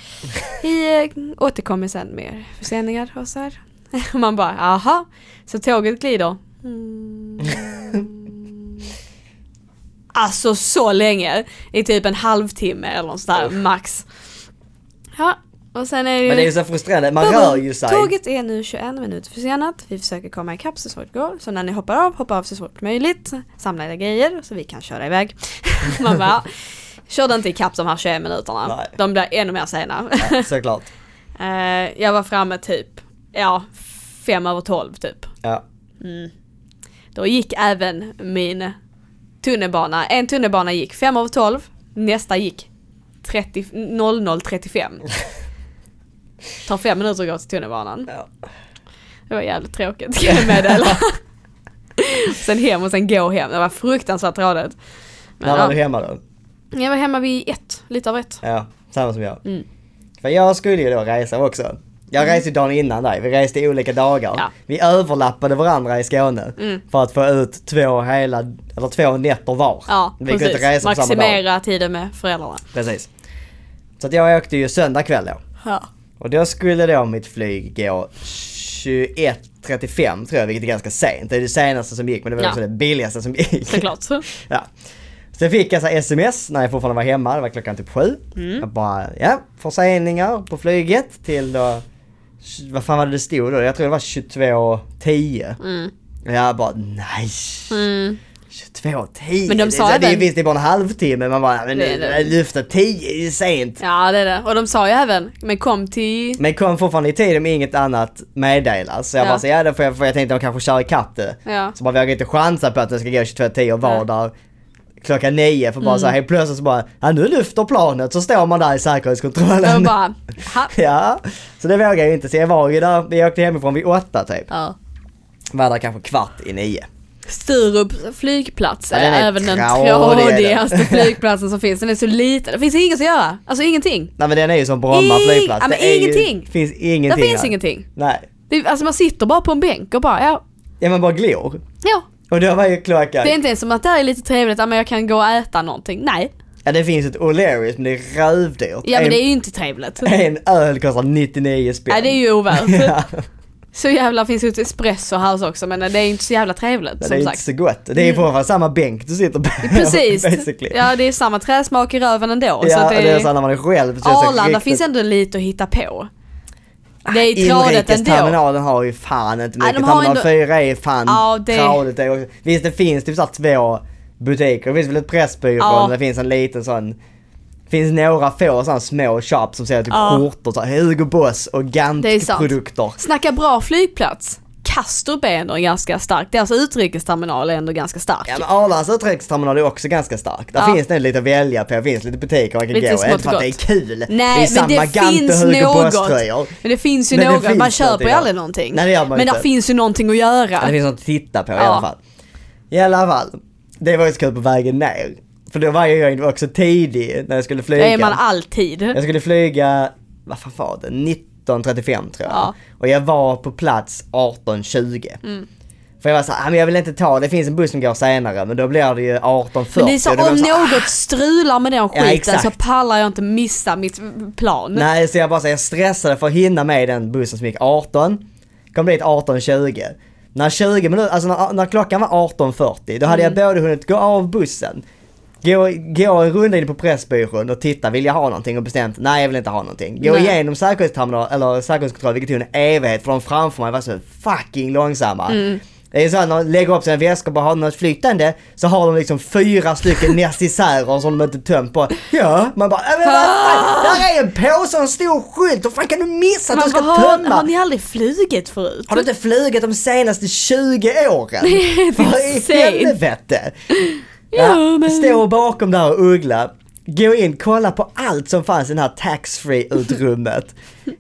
Speaker 2: Vi eh, återkommer sen med förseningar och så här. *laughs* Och man bara aha, så tåget glider. Mm. Alltså så länge! I typ en halvtimme eller något sånt där max. Ja, och sen är det ju...
Speaker 1: Men det är ju så frustrerande, man
Speaker 2: Bubble.
Speaker 1: rör ju sig.
Speaker 2: Tåget är nu 21 minuter försenat. Vi försöker komma ikapp så svårt det går. Så när ni hoppar av, hoppa av så svårt möjligt. Samla era grejer så vi kan köra iväg. *laughs* Man bara, ja. körde inte ikapp de här 21 minuterna.
Speaker 1: Nej.
Speaker 2: De blev ännu mer sena.
Speaker 1: Ja, såklart.
Speaker 2: Eh, jag var framme typ, ja, fem över tolv typ.
Speaker 1: Ja.
Speaker 2: Då gick även min tunnelbana, en tunnelbana gick fem över tolv. Nästa gick 30
Speaker 1: *laughs*
Speaker 2: 00.35. Tar fem minuter att gå till tunnelbanan.
Speaker 1: ja.
Speaker 2: Det var jävligt tråkigt kan jag meddela.
Speaker 1: *laughs*
Speaker 2: sen hem och sen gå hem. Det var fruktansvärt tråkigt.
Speaker 1: När var
Speaker 2: Men
Speaker 1: du
Speaker 2: ja,
Speaker 1: hemma då?
Speaker 2: jag var hemma vid ett, lite över ett.
Speaker 1: Ja, samma som jag.
Speaker 2: Mm.
Speaker 1: För jag skulle ju då resa också. Jag reste ju dagen innan dig, vi reste i olika dagar.
Speaker 2: Ja.
Speaker 1: Vi överlappade varandra i Skåne
Speaker 2: Mm.
Speaker 1: för att få ut två hela, eller två nätter var.
Speaker 2: Ja,
Speaker 1: vi kunde inte
Speaker 2: precis.
Speaker 1: resa på samma dag.
Speaker 2: Maximera tiden med föräldrarna.
Speaker 1: Precis. Så att jag åkte ju söndag kväll då.
Speaker 2: Ja.
Speaker 1: Och då skulle då mitt flyg gå 21.35 tror jag, vilket är ganska sent. Det är det senaste som gick men det var
Speaker 2: Ja.
Speaker 1: också det billigaste som gick.
Speaker 2: Såklart.
Speaker 1: Ja. Sen fick jag så här sms när jag fortfarande var hemma, det var klockan typ sju.
Speaker 2: Mm.
Speaker 1: Jag bara, ja, förseningar på flyget till då, vad fan var det det stod då? Jag tror det var 22.10.
Speaker 2: Mm.
Speaker 1: Jag bara, nej.
Speaker 2: Mm.
Speaker 1: 22.10?
Speaker 2: Men de
Speaker 1: Det är
Speaker 2: sa
Speaker 1: så här, det, är
Speaker 2: även-
Speaker 1: visst, det är bara en halvtimme, man bara, ja, men
Speaker 2: Det är det.
Speaker 1: lyfta 10 är ju sent.
Speaker 2: Ja, det är det. Och de sa ju även, men kom till...
Speaker 1: Men kom fortfarande i tid om inget annat meddelas. Så jag
Speaker 2: Ja.
Speaker 1: bara, så ja, då får jag, för jag tänkte att de kanske kör ikapp det.
Speaker 2: Ja.
Speaker 1: Så bara vågar inte chansa på att den ska gå 22.10 och vara
Speaker 2: Nej. Mm.
Speaker 1: där klockan nio för bara så här helt plötsligt så bara, ja nu lyfter planet så står man där i
Speaker 2: Och
Speaker 1: säkerhetskontrollen.
Speaker 2: bara, "Ah." ha.
Speaker 1: *laughs* ja, så det vågar jag ju inte. Så jag var ju där, vi åkte hemifrån vid åtta typ.
Speaker 2: Ja.
Speaker 1: Var där kanske kvart i nio.
Speaker 2: Sturup flygplats
Speaker 1: Ja,
Speaker 2: är,
Speaker 1: den är
Speaker 2: även den
Speaker 1: trådig, är den.
Speaker 2: trådigaste flygplatsen som finns. Den är så liten. Det finns inget att göra. Alltså ingenting.
Speaker 1: Nej men den är ju som Bromma
Speaker 2: I-
Speaker 1: flygplats.
Speaker 2: ja, men
Speaker 1: Det är Ju,
Speaker 2: ingenting.
Speaker 1: finns
Speaker 2: Det
Speaker 1: ingenting
Speaker 2: finns
Speaker 1: där.
Speaker 2: ingenting.
Speaker 1: Nej.
Speaker 2: Det, alltså man sitter bara på en bänk och bara, ja,
Speaker 1: Ja men bara glor.
Speaker 2: ja.
Speaker 1: Och då var ju klockan,
Speaker 2: Det är inte ens som att det här är lite trevligt, ja men jag kan gå och äta någonting. Nej.
Speaker 1: ja det finns ett O'Learys men det är rövdyrt.
Speaker 2: Ja
Speaker 1: En-
Speaker 2: men det är ju inte trevligt.
Speaker 1: En öl kostar 99 spänn.
Speaker 2: Nej det är ju ovärt.
Speaker 1: *laughs* ja,
Speaker 2: Så jävla finns ju ett espresso här också men det är ju inte så jävla trevligt
Speaker 1: men det är
Speaker 2: som
Speaker 1: inte
Speaker 2: sagt. Mm.
Speaker 1: så *laughs* gott. Det är ju fortfarande samma bänk du sitter på.
Speaker 2: Precis.
Speaker 1: *laughs* Basically. Ja,
Speaker 2: Ja det är samma träsmak i röven ändå.
Speaker 1: och
Speaker 2: så att
Speaker 1: det är så här när man är själv. så är det så
Speaker 2: Arlanda
Speaker 1: riktigt- Ah,
Speaker 2: finns ändå lite att hitta på. Det är tradigt ändå.
Speaker 1: Inrikesterminalen har ju fan inte
Speaker 2: Nej,
Speaker 1: mycket.
Speaker 2: de har
Speaker 1: Terminal
Speaker 2: ändå-
Speaker 1: 4 är fan
Speaker 2: Ja, det-
Speaker 1: tradigt det också. Visst det finns typ såhär två butiker. Det finns väl ett Pressbyrån,
Speaker 2: Ja.
Speaker 1: det finns en liten sån finns några få sådana små shops som säljer typ
Speaker 2: Ja.
Speaker 1: skjortor, så här Hugo Boss och
Speaker 2: Det är sant.
Speaker 1: Gant-produkter.
Speaker 2: Snacka bra flygplats. Kastrup är ändå ganska stark. Deras alltså utrikesterminal är ändå ganska stark.
Speaker 1: Ja men Arlandas utrikesterminal är också ganska stark. Där
Speaker 2: Ja.
Speaker 1: finns det lite att välja på, det finns lite butiker man kan
Speaker 2: Lite
Speaker 1: gå i.
Speaker 2: smått
Speaker 1: Inte för att
Speaker 2: och
Speaker 1: det är
Speaker 2: gott.
Speaker 1: kul.
Speaker 2: Nej
Speaker 1: det är
Speaker 2: men
Speaker 1: samma
Speaker 2: det
Speaker 1: Gant och
Speaker 2: finns
Speaker 1: Hugo
Speaker 2: något.
Speaker 1: Boss-tröjor.
Speaker 2: Men det finns ju
Speaker 1: Men det
Speaker 2: något.
Speaker 1: finns
Speaker 2: man köper
Speaker 1: någonting,
Speaker 2: ju
Speaker 1: ja.
Speaker 2: aldrig någonting.
Speaker 1: Nej, det gör man
Speaker 2: men
Speaker 1: inte.
Speaker 2: där finns ju någonting att göra.
Speaker 1: Ja, Det finns något att titta på i
Speaker 2: Ja.
Speaker 1: alla fall. I alla fall. Det var ju så kul på vägen ner. För då var jag ju också tidig när jag skulle
Speaker 2: det
Speaker 1: flyga.
Speaker 2: är man alltid.
Speaker 1: Jag skulle flyga, vad fan var det, 19.35 tror jag.
Speaker 2: Ja. Mm.
Speaker 1: Och jag var på plats 18.20. För jag var såhär, "Ah, men jag vill inte ta, det finns en buss som går senare men då blir det ju 18.40.
Speaker 2: Men det är så,
Speaker 1: Och då var
Speaker 2: om
Speaker 1: jag här,
Speaker 2: något strular med den skiten
Speaker 1: exakt.
Speaker 2: så pallar jag inte missa mitt plan.
Speaker 1: Nej, så jag bara så här, jag stressade för att hinna med den bussen som gick 18. Kom dit 18.20. När 20 minuter, alltså när, när klockan var 18.40 då hade jag både hunnit gå av bussen, Gå, gå en runda in på Pressbyrån och titta, vill jag ha någonting? Och bestämt, nej jag vill inte ha någonting. Gå
Speaker 2: Nej.
Speaker 1: igenom säkerhetsterminal, eller säkerhetskontroll, vilket tog en evighet för de framför mig var så fucking långsamma.
Speaker 2: Mm.
Speaker 1: Det är så att när de lägger upp sina väskor och bara har något flytande så har de liksom fyra
Speaker 2: *laughs*
Speaker 1: stycken necessärer som de inte tömt på. Ja, man bara "Äh, men vad fan,
Speaker 2: Ah.
Speaker 1: där är en påse och en stor skylt, hur fan kan du missa att du ska
Speaker 2: bara, har,
Speaker 1: tömma?
Speaker 2: har ni aldrig flugit förut?
Speaker 1: Har du inte flugit de senaste 20 åren?
Speaker 2: *laughs*
Speaker 1: Vad i
Speaker 2: insane.
Speaker 1: helvete? Ja,
Speaker 2: men-
Speaker 1: Stå bakom där och uggla. Gå in, kolla på allt som fanns i det här taxfree-utrymmet.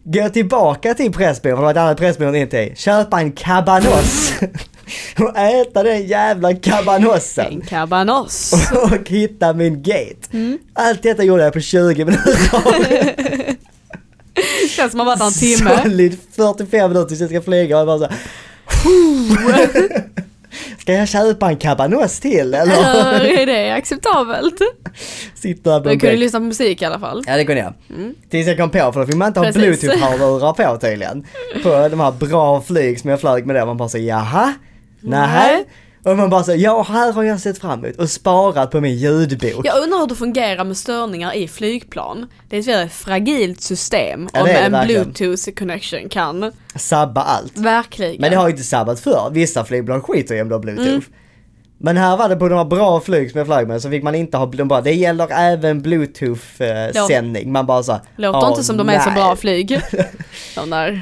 Speaker 1: Gå tillbaka till Pressbyrån, för det var ett annat Pressbyrån in till. Köpa en kabanoss. *laughs* och äta den jävla kabanossen.
Speaker 2: En kabanoss.
Speaker 1: *laughs* Och hitta min gate. Allt detta gjorde jag på 20 minuter.
Speaker 2: *laughs* Det känns som att man
Speaker 1: *laughs*
Speaker 2: varit där en timme.
Speaker 1: Solid 45 minuter tills jag ska flyga och jag bara så här, *laughs* Ska jag köpa en kabanoss till eller?
Speaker 2: Eller är det acceptabelt?
Speaker 1: Sitta här på
Speaker 2: Men
Speaker 1: en
Speaker 2: jag kunde
Speaker 1: bänk.
Speaker 2: lyssna på musik i alla fall.
Speaker 1: Ja det kunde jag. Tills jag kom på för då fick man inte ha
Speaker 2: Precis.
Speaker 1: bluetooth-hörlurar på tydligen. På de här bra flyg som jag flög med det. Man bara så jaha? Nähä?
Speaker 2: Nej.
Speaker 1: Och man bara så ja här har jag sett fram emot och sparat på min ljudbok.
Speaker 2: Jag undrar hur det fungerar med störningar i flygplan. Det är ett väldigt fragilt system
Speaker 1: Ja,
Speaker 2: om
Speaker 1: det är det
Speaker 2: en
Speaker 1: verkligen.
Speaker 2: bluetooth connection kan.
Speaker 1: Sabba allt.
Speaker 2: Verkligen.
Speaker 1: Men det har ju inte sabbat för. Vissa flygbolag skiter i om du har bluetooth.
Speaker 2: Mm.
Speaker 1: Men här var det på några bra flyg som jag flög med så fick man inte ha, de bara, det gäller även
Speaker 2: Låt-
Speaker 1: bluetooth-sändning. Man bara såhär,
Speaker 2: Låter inte som de är så
Speaker 1: *laughs*
Speaker 2: bra flyg. De där.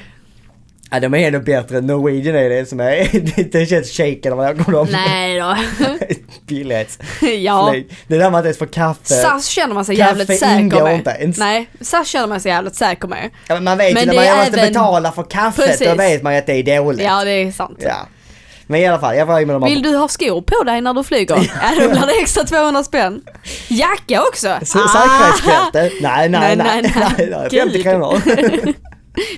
Speaker 1: Ja de är ännu bättre, Norwegian är det som är, *laughs* det känns shaken när jag kommer om. *laughs*
Speaker 2: Nej då.
Speaker 1: Billighetsflyg.
Speaker 2: *laughs* ja.
Speaker 1: Det där man inte ens får kaffe.
Speaker 2: SAS känner man sig
Speaker 1: Kaffe
Speaker 2: jävligt säker
Speaker 1: ingår
Speaker 2: med.
Speaker 1: inte ens.
Speaker 2: Nej, SAS känner man sig jävligt säker med.
Speaker 1: Ja, men man vet
Speaker 2: Men
Speaker 1: ju när
Speaker 2: det
Speaker 1: man
Speaker 2: är
Speaker 1: måste
Speaker 2: även-
Speaker 1: betala för kaffet då
Speaker 2: Precis.
Speaker 1: vet man ju att det är dåligt.
Speaker 2: Ja, det är sant.
Speaker 1: Ja. Men i alla fall, jag flög med de här
Speaker 2: Vill du ha skor på dig när du flyger?
Speaker 1: *laughs*
Speaker 2: ja, då blir det extra 200 spänn. Jacka
Speaker 1: *laughs*
Speaker 2: också!
Speaker 1: S- Säkerhetsbälte? Nej, nej, nej,
Speaker 2: Ah! Nej, nej,
Speaker 1: nej,
Speaker 2: nej.
Speaker 1: nej, 50
Speaker 2: Gud.
Speaker 1: kronor.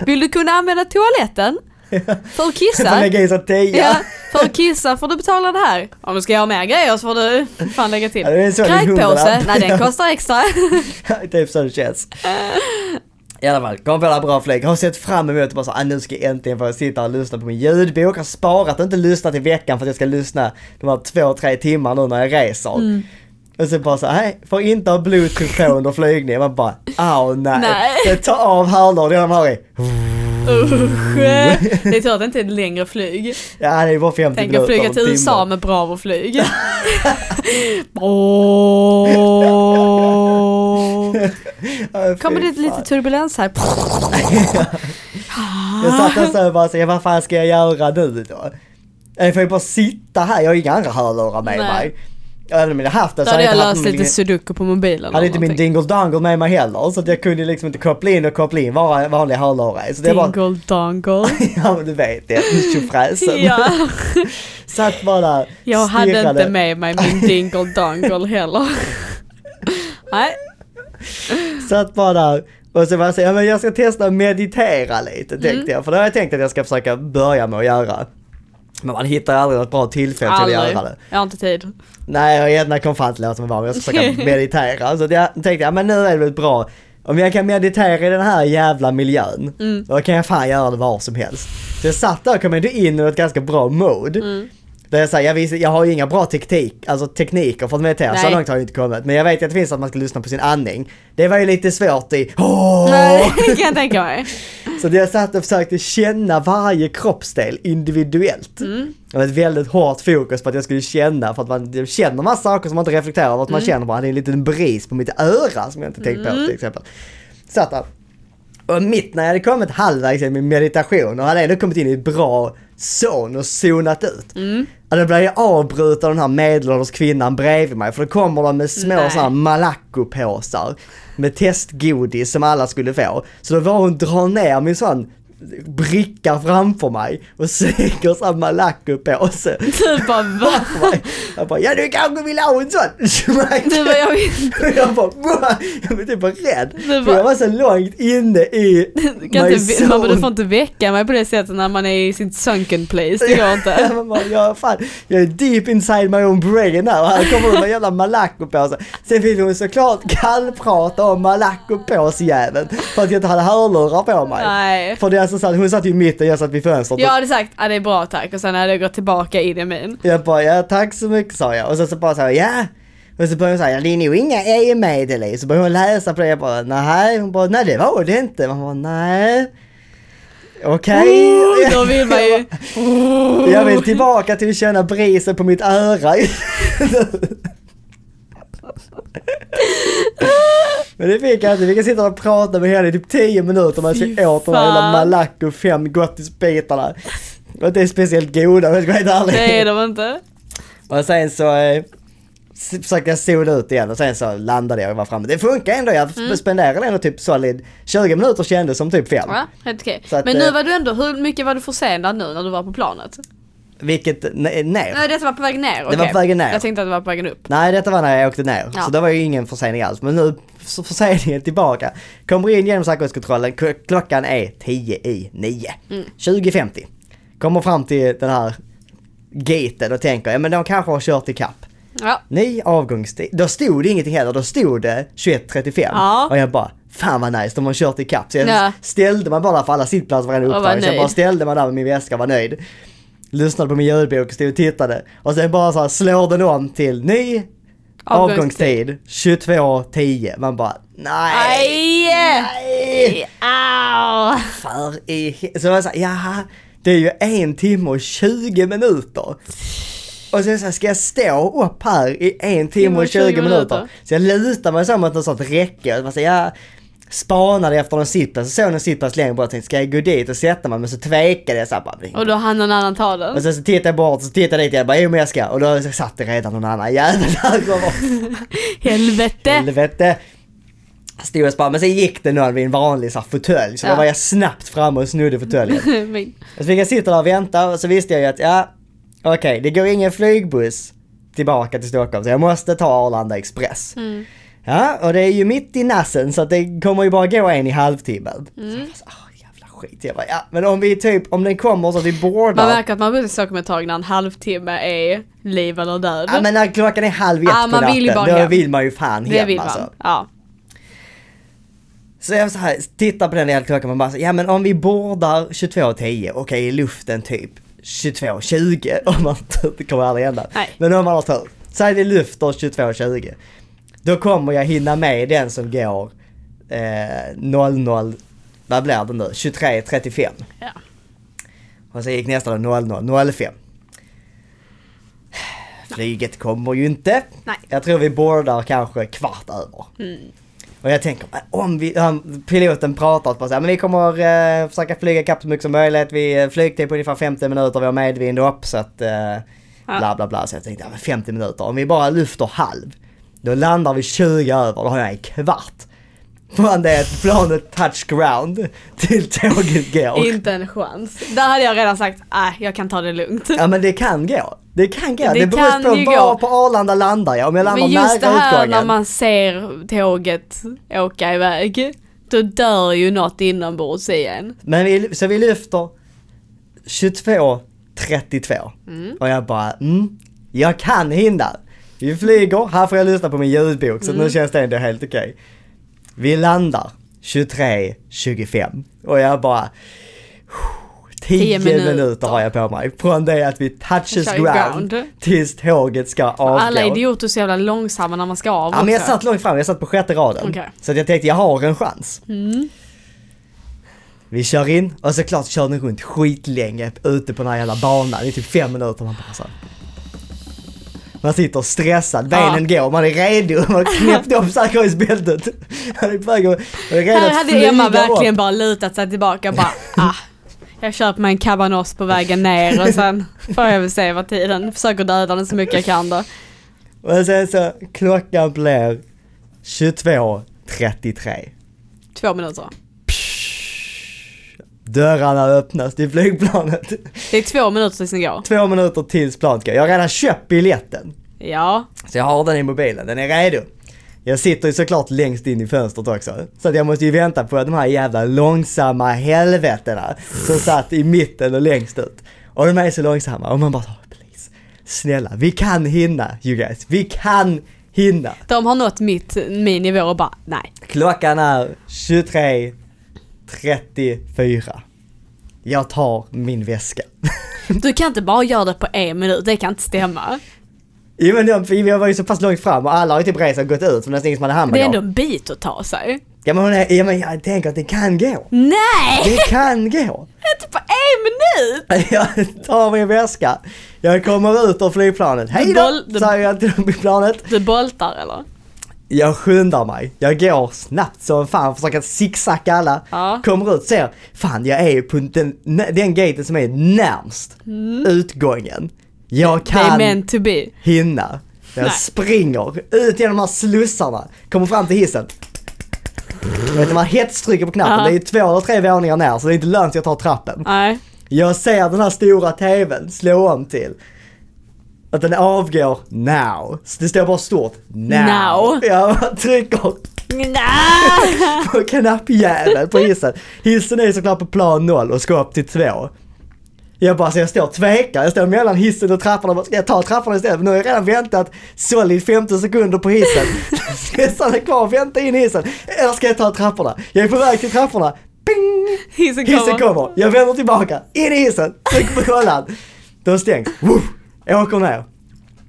Speaker 2: Vill du kunna
Speaker 1: *laughs*
Speaker 2: använda toaletten? För att
Speaker 1: Du får
Speaker 2: kissa?
Speaker 1: lägga i så 10.
Speaker 2: Ja, för att kissa får du betala det här. Om du ska ha mer grejer så får du fan lägga till.
Speaker 1: Ja, det är så det är
Speaker 2: Kräkpåse,
Speaker 1: hundralapp.
Speaker 2: nej den
Speaker 1: *laughs*
Speaker 2: kostar extra.
Speaker 1: typ så *laughs* det känns. I alla fall, kom på det här bra fläck. Har sett fram emot och bara så, ah, nu ska jag äntligen få sitta och lyssna på min ljudbok. Har sparat och inte lyssnat i veckan för att jag ska lyssna de här två, tre timmar nu när jag reser.
Speaker 2: Mm.
Speaker 1: Och så bara så, "Ah, nej, får inte ha bluetooth på under flygningen. Man bara, åh nej.
Speaker 2: Nej.
Speaker 1: Det tar av hörlurarna de har i.
Speaker 2: Usch. Det är tur att det inte är ett längre flyg.
Speaker 1: Ja, det är bara 50
Speaker 2: Tänk att
Speaker 1: minuter.
Speaker 2: flyga
Speaker 1: eller
Speaker 2: till
Speaker 1: en timme.
Speaker 2: USA
Speaker 1: *laughs*
Speaker 2: med Bravo-flyg. Bravo.
Speaker 1: Ja, fy
Speaker 2: Kommer det
Speaker 1: fan.
Speaker 2: lite turbulens här?
Speaker 1: Jag satt
Speaker 2: Ah.
Speaker 1: där så och bara så, ja, vad fan ska jag göra nu då? Jag får ju bara sitta här, jag har ju inga andra hörlurar med
Speaker 2: Nej.
Speaker 1: mig. Och Även om jag hade haft det
Speaker 2: Då
Speaker 1: så hade
Speaker 2: hade jag
Speaker 1: inte haft
Speaker 2: löst
Speaker 1: någon-
Speaker 2: lite sudoku på mobilen.
Speaker 1: hade
Speaker 2: eller
Speaker 1: inte min
Speaker 2: någonting.
Speaker 1: dingle dangle med mig heller så att jag kunde liksom inte koppla in och koppla in var- vanliga hörlurar. i. Så det var,
Speaker 2: Dingle dongle.
Speaker 1: *laughs* ja men du vet det, tjofräsen.
Speaker 2: ja,
Speaker 1: Satt bara där,
Speaker 2: jag hade
Speaker 1: stirrade.
Speaker 2: inte med mig min dingle dongle
Speaker 1: *laughs*
Speaker 2: heller. Nej,
Speaker 1: Satt bara där och så var jag så, ja men jag ska testa att meditera lite tänkte
Speaker 2: Mm.
Speaker 1: jag. För det har jag tänkt att jag ska försöka börja med att göra. Men man hittar aldrig något bra tillfälle till att
Speaker 2: aldrig.
Speaker 1: göra det.
Speaker 2: Jag har inte tid.
Speaker 1: Nej, jag Edna kom fram till att hon var men jag ska
Speaker 2: *laughs*
Speaker 1: försöka meditera. Så att jag tänkte, ja men nu är det väl bra. Om jag kan meditera i den här jävla miljön,
Speaker 2: Mm.
Speaker 1: då kan jag fan göra det var som helst. Så jag satt där och kom ändå in i ett ganska bra mode.
Speaker 2: Mm.
Speaker 1: Där jag säger, jag, visste- jag har ju inga bra teknik, alltså tekniker för att meditera, så
Speaker 2: Nej.
Speaker 1: långt har jag inte kommit. Men jag vet ju att det finns att man ska lyssna på sin andning. Det var ju lite svårt i,
Speaker 2: Nej, *laughs* det kan jag tänka mig.
Speaker 1: så jag satt och försökte känna varje kroppsdel individuellt. Det var ett väldigt hårt fokus på att jag skulle känna, för att man känner massa saker som man inte reflekterar över, att man känner bara, det är en liten bris på mitt öra som jag inte tänkt på till exempel. Satt där. Och mitt när jag hade kommit halvvägs i min meditation och hade ändå kommit in i ett bra zon och zonat ut. Mm. Och då blev jag avbruten av den här medelålders kvinnan bredvid mig för då kommer de med små
Speaker 2: Nej.
Speaker 1: sådana här malacopåsar med testgodis som alla skulle få. Så då var hon drar ner min sån bricka framför mig och *laughs* slänger så här malacopåse.
Speaker 2: Du Typ bara va?
Speaker 1: Jag bara, ja du kanske vill ha en sån? *laughs*
Speaker 2: Du bara jag vill...
Speaker 1: Och *laughs* jag bara, "Wah!" jag blev typ bara rädd.
Speaker 2: Du
Speaker 1: För
Speaker 2: bara-
Speaker 1: jag var så långt inne i
Speaker 2: Kan
Speaker 1: my
Speaker 2: inte, man bara, du
Speaker 1: zone.
Speaker 2: får inte väcka mig på det sättet när man är i sitt sunken place, det
Speaker 1: *laughs*
Speaker 2: går
Speaker 1: Ja,
Speaker 2: inte.
Speaker 1: man bara, jag, fan, jag är deep inside my own brain här och här kommer de med jävla malacopåsar. Sen fick hon såklart kallprata om malacopåsjäveln för att jag inte hade hörlurar på mig.
Speaker 2: Nej.
Speaker 1: För det är alltså så att hon satt ju i mitten, jag satt vid fönstret.
Speaker 2: Jag hade sagt ja det är bra tack och sen hade jag gått tillbaka in i min.
Speaker 1: Jag bara, ja tack så mycket sa jag. Och sen så bara så här, ja. Och så börjar hon säga, det är nog inga e-medel i. Så börjar hon läsa på det. Jag bara, nej. Hon bara, nej det var det inte. Man bara, nej. Okej.
Speaker 2: Oh, då vill man ju...
Speaker 1: *laughs* Jag vill tillbaka till att känna brisen på mitt
Speaker 2: *laughs*
Speaker 1: öra. Men det fick jag inte. Vi kan sitta och prata med henne i typ 10 minuter man
Speaker 2: Fy
Speaker 1: ska åt de här
Speaker 2: fan.
Speaker 1: jävla Malaco 5 gottisbitarna. Och det är speciellt goda om jag ska vara helt ärlig.
Speaker 2: Det är de inte.
Speaker 1: Och sen så eh, s- försökte jag sola ut igen och sen så landade jag och var framme. Det funkar ändå. Jag mm. spenderade ändå typ solid 20 minuter kändes som typ 5.
Speaker 2: Ja, helt okej.
Speaker 1: Så att,
Speaker 2: Men nu
Speaker 1: eh,
Speaker 2: var du ändå, hur mycket var du försenad nu när du var på planet?
Speaker 1: Vilket, nej, nej.
Speaker 2: Nej, detta var på väg ner.
Speaker 1: Det var på vägen ner.
Speaker 2: Jag tänkte att det var på vägen upp.
Speaker 1: Nej, detta var när jag åkte ner.
Speaker 2: Ja.
Speaker 1: Så det var ju ingen försening alls. Men nu så förseningen tillbaka. Kommer in genom säkerhetskontrollen. K- klockan är 10 i 9. 20.50. Kommer fram till den här gaten och tänker, ja men de kanske har kört ikapp.
Speaker 2: Ja.
Speaker 1: Ny avgångstid. Då stod det ingenting heller. Då stod det 21.35.
Speaker 2: Ja.
Speaker 1: Och jag bara, fan vad nice, de har kört ikapp. Så jag
Speaker 2: Ja.
Speaker 1: ställde mig bara där för alla sittplatser var redan
Speaker 2: Och var
Speaker 1: upptagna. Så jag
Speaker 2: nöjd.
Speaker 1: bara ställde mig där med min väska och var nöjd. Lyssnade på min ljudbok och stod och tittade. Och sen bara så här slår den om till ny avgångstid, 22.10. Man bara, nej.
Speaker 2: Aj!
Speaker 1: Nej!
Speaker 2: Au!
Speaker 1: För i he- Så jag var såhär, jaha. Det är ju en timme och 20 minuter. Och sen så här, ska jag stå upp här i en timme och 20 minuter? Så jag lutar mig så mot något sånt räcke och bara så här, jag spanade efter någon sittplats och såg någon sittplats längre bort och tänkte, ska jag gå dit och sätta mig? Men så tvekade jag såhär, bara, "Nej."
Speaker 2: Och då hann någon annan ta den.
Speaker 1: Och sen så tittade jag bort och så tittade jag dit jag bara, jo men jag ska. Och då satt det redan någon annan jävel där och bara,
Speaker 2: Helvete!
Speaker 1: Helvete. Stod och spann, men sen gick det någon vid en vanlig så här, fåtölj. Så
Speaker 2: Ja.
Speaker 1: då var jag snabbt framme och snodde fåtöljen.
Speaker 2: Men-
Speaker 1: så fick jag sitta där och vänta och så visste jag ju att, ja, okej, det går ingen flygbuss tillbaka till Stockholm så jag måste ta Arlanda Express.
Speaker 2: Mm.
Speaker 1: Ja, och det är ju mitt i nassen så att det kommer ju bara gå en i halvtimmen.
Speaker 2: Mm.
Speaker 1: Så jag bara, så, "Åh, jävla skit. Jag bara, ja, men om vi typ, om den kommer så att vi
Speaker 2: *laughs* Man
Speaker 1: boardar.
Speaker 2: märker att man blir Stockholm ett tag när en halvtimme är liv eller död.
Speaker 1: Ja men när klockan är halv ett
Speaker 2: Ja,
Speaker 1: på
Speaker 2: man vill ju
Speaker 1: natten,
Speaker 2: bara
Speaker 1: då
Speaker 2: hem.
Speaker 1: vill man ju fan hem
Speaker 2: det vill man.
Speaker 1: alltså.
Speaker 2: Ja.
Speaker 1: Så jag så här, tittar på den där klockan och bara så, ja men om vi bordar 22.10, okej i luften typ 22.20 *laughs* om man har tur, det kommer aldrig hända.
Speaker 2: Nej.
Speaker 1: Men om man har tur, säg det lyfter 22.20, då kommer jag hinna med den som går eh, 00, vad blir det nu, 23.35.
Speaker 2: Ja.
Speaker 1: Och så gick nästa då 00.05. Flyget kommer ju inte.
Speaker 2: Nej.
Speaker 1: Jag tror vi boardar kanske kvart över. Och jag tänker, men om vi, om piloten pratar på så här, men vi kommer eh, försöka flyga ikapp så mycket som möjligt. Vi eh, flygtid på ungefär 50 minuter, vi har medvind upp så att eh, bla bla bla. Så jag tänkte, ja, men 50 minuter, om vi bara lyfter halv, då landar vi 20 över, då har jag en kvart. Från det att planet touch ground till tåget går.
Speaker 2: Inte en chans. Där hade jag redan sagt, nej jag kan ta det lugnt.
Speaker 1: Ja men det kan gå. Det kan gå. Det,
Speaker 2: Det
Speaker 1: beror
Speaker 2: kan
Speaker 1: på
Speaker 2: ju
Speaker 1: var
Speaker 2: gå.
Speaker 1: på Arlanda landar jag. Om jag landar
Speaker 2: Men just det
Speaker 1: nära
Speaker 2: här
Speaker 1: utgången.
Speaker 2: när man ser tåget åka iväg. Då dör ju något inombords i en.
Speaker 1: Men vi, så vi lyfter 22.32 och jag bara mm, jag kan hinna. Vi flyger, här får jag lyssna på min ljudbok så
Speaker 2: Mm.
Speaker 1: nu känns det ändå helt okej. Vi landar 23.25 och jag bara 10
Speaker 2: 10
Speaker 1: minuter.
Speaker 2: minuter.
Speaker 1: har jag på mig från det att vi touches
Speaker 2: Touchar
Speaker 1: ground,
Speaker 2: ground.
Speaker 1: tills tåget ska avgå.
Speaker 2: Alla idioter är så jävla långsamma när man ska av
Speaker 1: Ja men jag
Speaker 2: också.
Speaker 1: satt långt fram, jag satt på sjätte raden.
Speaker 2: Okej. Mm.
Speaker 1: Så att jag tänkte jag har en chans. Vi kör in och såklart kör den runt skitlänge ute på den här jävla banan i typ fem minuter. Man bara så här. Man sitter stressad, benen går, man är redo, man har
Speaker 2: *laughs*
Speaker 1: knäppt upp säkerhetsbältet. Man är på väg att, man är redo
Speaker 2: Här
Speaker 1: att
Speaker 2: hade
Speaker 1: flyga
Speaker 2: Emma
Speaker 1: upp.
Speaker 2: verkligen bara lutat sig tillbaka och bara ah, jag köper mig en kabanoss på vägen ner och sen får jag väl se vad tiden, försöker döda den så mycket jag kan då.
Speaker 1: Och sen så klockan blev 22.33.
Speaker 2: Två minuter.
Speaker 1: Dörrarna öppnas till flygplanet.
Speaker 2: Det är två minuter tills ni går.
Speaker 1: Två minuter tills planet går. Jag har redan köpt biljetten.
Speaker 2: Ja,
Speaker 1: Så jag har den i mobilen, den är redo. Jag sitter ju såklart längst in i fönstret också. Så att jag måste ju vänta på de här jävla långsamma helvetena som satt i mitten och längst ut. Och de är så långsamma och man bara oh, please, snälla, vi kan hinna you guys, vi kan hinna.
Speaker 2: de har nått mitt, min nivå och bara nej.
Speaker 1: Klockan är 23.34. Jag tar min väska. *laughs*
Speaker 2: Du kan inte bara göra det på en minut, det kan inte stämma.
Speaker 1: Jo men de, vi var ju så pass långt fram och alla har ju typ rest och gått ut så nästan ingen som hade
Speaker 2: Det är ändå
Speaker 1: handbagage.
Speaker 2: en bit att ta sig.
Speaker 1: Ja men, hon är, ja men jag tänker att det kan gå.
Speaker 2: Nej!
Speaker 1: Det kan gå.
Speaker 2: *laughs*
Speaker 1: *laughs*
Speaker 2: Inte på en minut!
Speaker 1: Jag tar min väska, jag kommer ut ur flygplanet. Hej
Speaker 2: boll-
Speaker 1: då! Säger jag till dem i planet.
Speaker 2: Du boltar eller?
Speaker 1: Jag skyndar mig. Jag går snabbt som fan, försöker zigzacka alla.
Speaker 2: Ja.
Speaker 1: Kommer ut, ser, fan jag är ju på den, den gaten som är närmst utgången. Jag
Speaker 2: Mm. Det är
Speaker 1: kan
Speaker 2: meant to be.
Speaker 1: hinna. Jag
Speaker 2: Nej.
Speaker 1: springer ut genom de här slussarna, kommer fram till hissen. Jag vet, man hetstrycker på knappen,
Speaker 2: Ja.
Speaker 1: det är ju två eller tre våningar ner så det är inte lönt att jag tar trappen. *laughs*
Speaker 2: Nej.
Speaker 1: Jag ser den här stora tvn slå om till. Att den avgår now. Så det står bara stort now.
Speaker 2: Now.
Speaker 1: Jag bara *laughs* trycker
Speaker 2: Nej!
Speaker 1: på knappjäveln på hissen. Hissen är såklart på plan noll och ska upp till två. Jag bara, så jag står och tvekar. Jag står mellan hissen och trappan och bara, ska jag ta trappan istället? Nu har jag redan väntat solid 15 sekunder på hissen. *laughs* Ska jag stanna kvar och vänta in i hissen? Eller ska jag ta trapporna? Jag är på väg till trapporna. Ping!
Speaker 2: Hissen kommer.
Speaker 1: Hissen kommer, jag vänder tillbaka, in i hissen, trycker på kollan. De stängs, Woof! jag åker ner.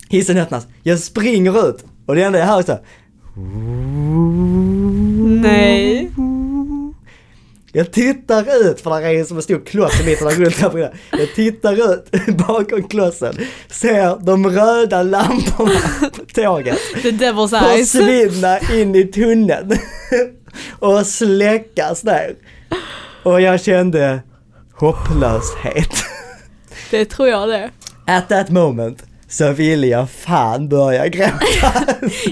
Speaker 1: Hissen öppnas, jag springer ut och det enda jag hör är så här,
Speaker 2: Nej.
Speaker 1: Jag tittar ut, för där är ju som en stor kloss i mitten av grundtrappan. Jag tittar ut *laughs* bakom klossen, ser de röda lamporna på tåget
Speaker 2: The devil's eyes.
Speaker 1: försvinna in i tunneln *laughs* och släckas där. Och jag kände hopplöshet. *laughs*
Speaker 2: Det tror jag det.
Speaker 1: At that moment så ville jag fan börja gråta.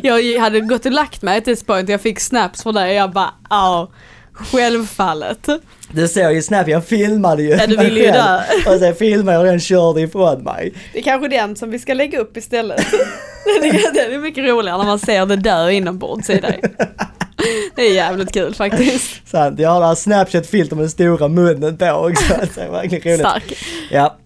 Speaker 1: *laughs*
Speaker 2: Jag hade gått och lagt mig till this point jag fick snaps från dig och jag bara au. Självfallet.
Speaker 1: Du såg ju snabbt, jag filmade ju.
Speaker 2: Ja, du
Speaker 1: mig
Speaker 2: ville ju
Speaker 1: själv. Och sen filmade jag och den körde ifrån mig.
Speaker 2: Det är kanske den som vi ska lägga upp *laughs* istället. den, är, den är mycket roligare när man ser det dö inombords i dig. Det är jävligt kul faktiskt.
Speaker 1: Sant, jag har det här Snapchat-filter med den stora munnen på också. Så det är verkligen *laughs* roligt.
Speaker 2: Stark.
Speaker 1: Ja.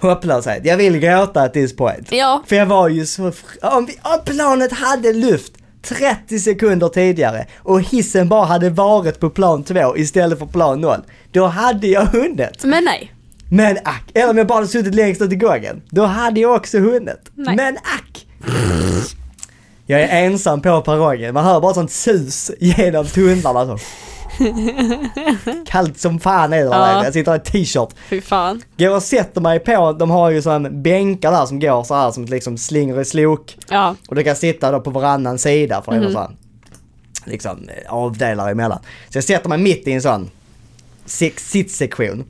Speaker 1: Hopplöshet, jag vill gråta at this point.
Speaker 2: Ja.
Speaker 1: För jag var ju så... fr- Om, vi, om planet hade luft 30 sekunder tidigare och hissen bara hade varit på plan 2 istället för plan 0. Då hade jag hunnit.
Speaker 2: Men nej.
Speaker 1: Men ack, eller om jag bara hade suttit längst ut i gången, då hade jag också hunnit.
Speaker 2: Nej.
Speaker 1: Men ack! Jag är ensam på perrongen, man hör bara sånt sus genom tunnlarna så. Kallt som fan är det där
Speaker 2: Ja.
Speaker 1: inne. jag sitter i t-shirt.
Speaker 2: Fy fan.
Speaker 1: Går och sätter mig på, de har ju som bänkar där som går så här som liksom slinger i slok.
Speaker 2: Ja.
Speaker 1: Och du kan sitta då på varannan sida för det är
Speaker 2: Mhm.
Speaker 1: någon sån liksom eh, avdelare emellan. Så jag sätter mig mitt i en sån sit- sittsektion.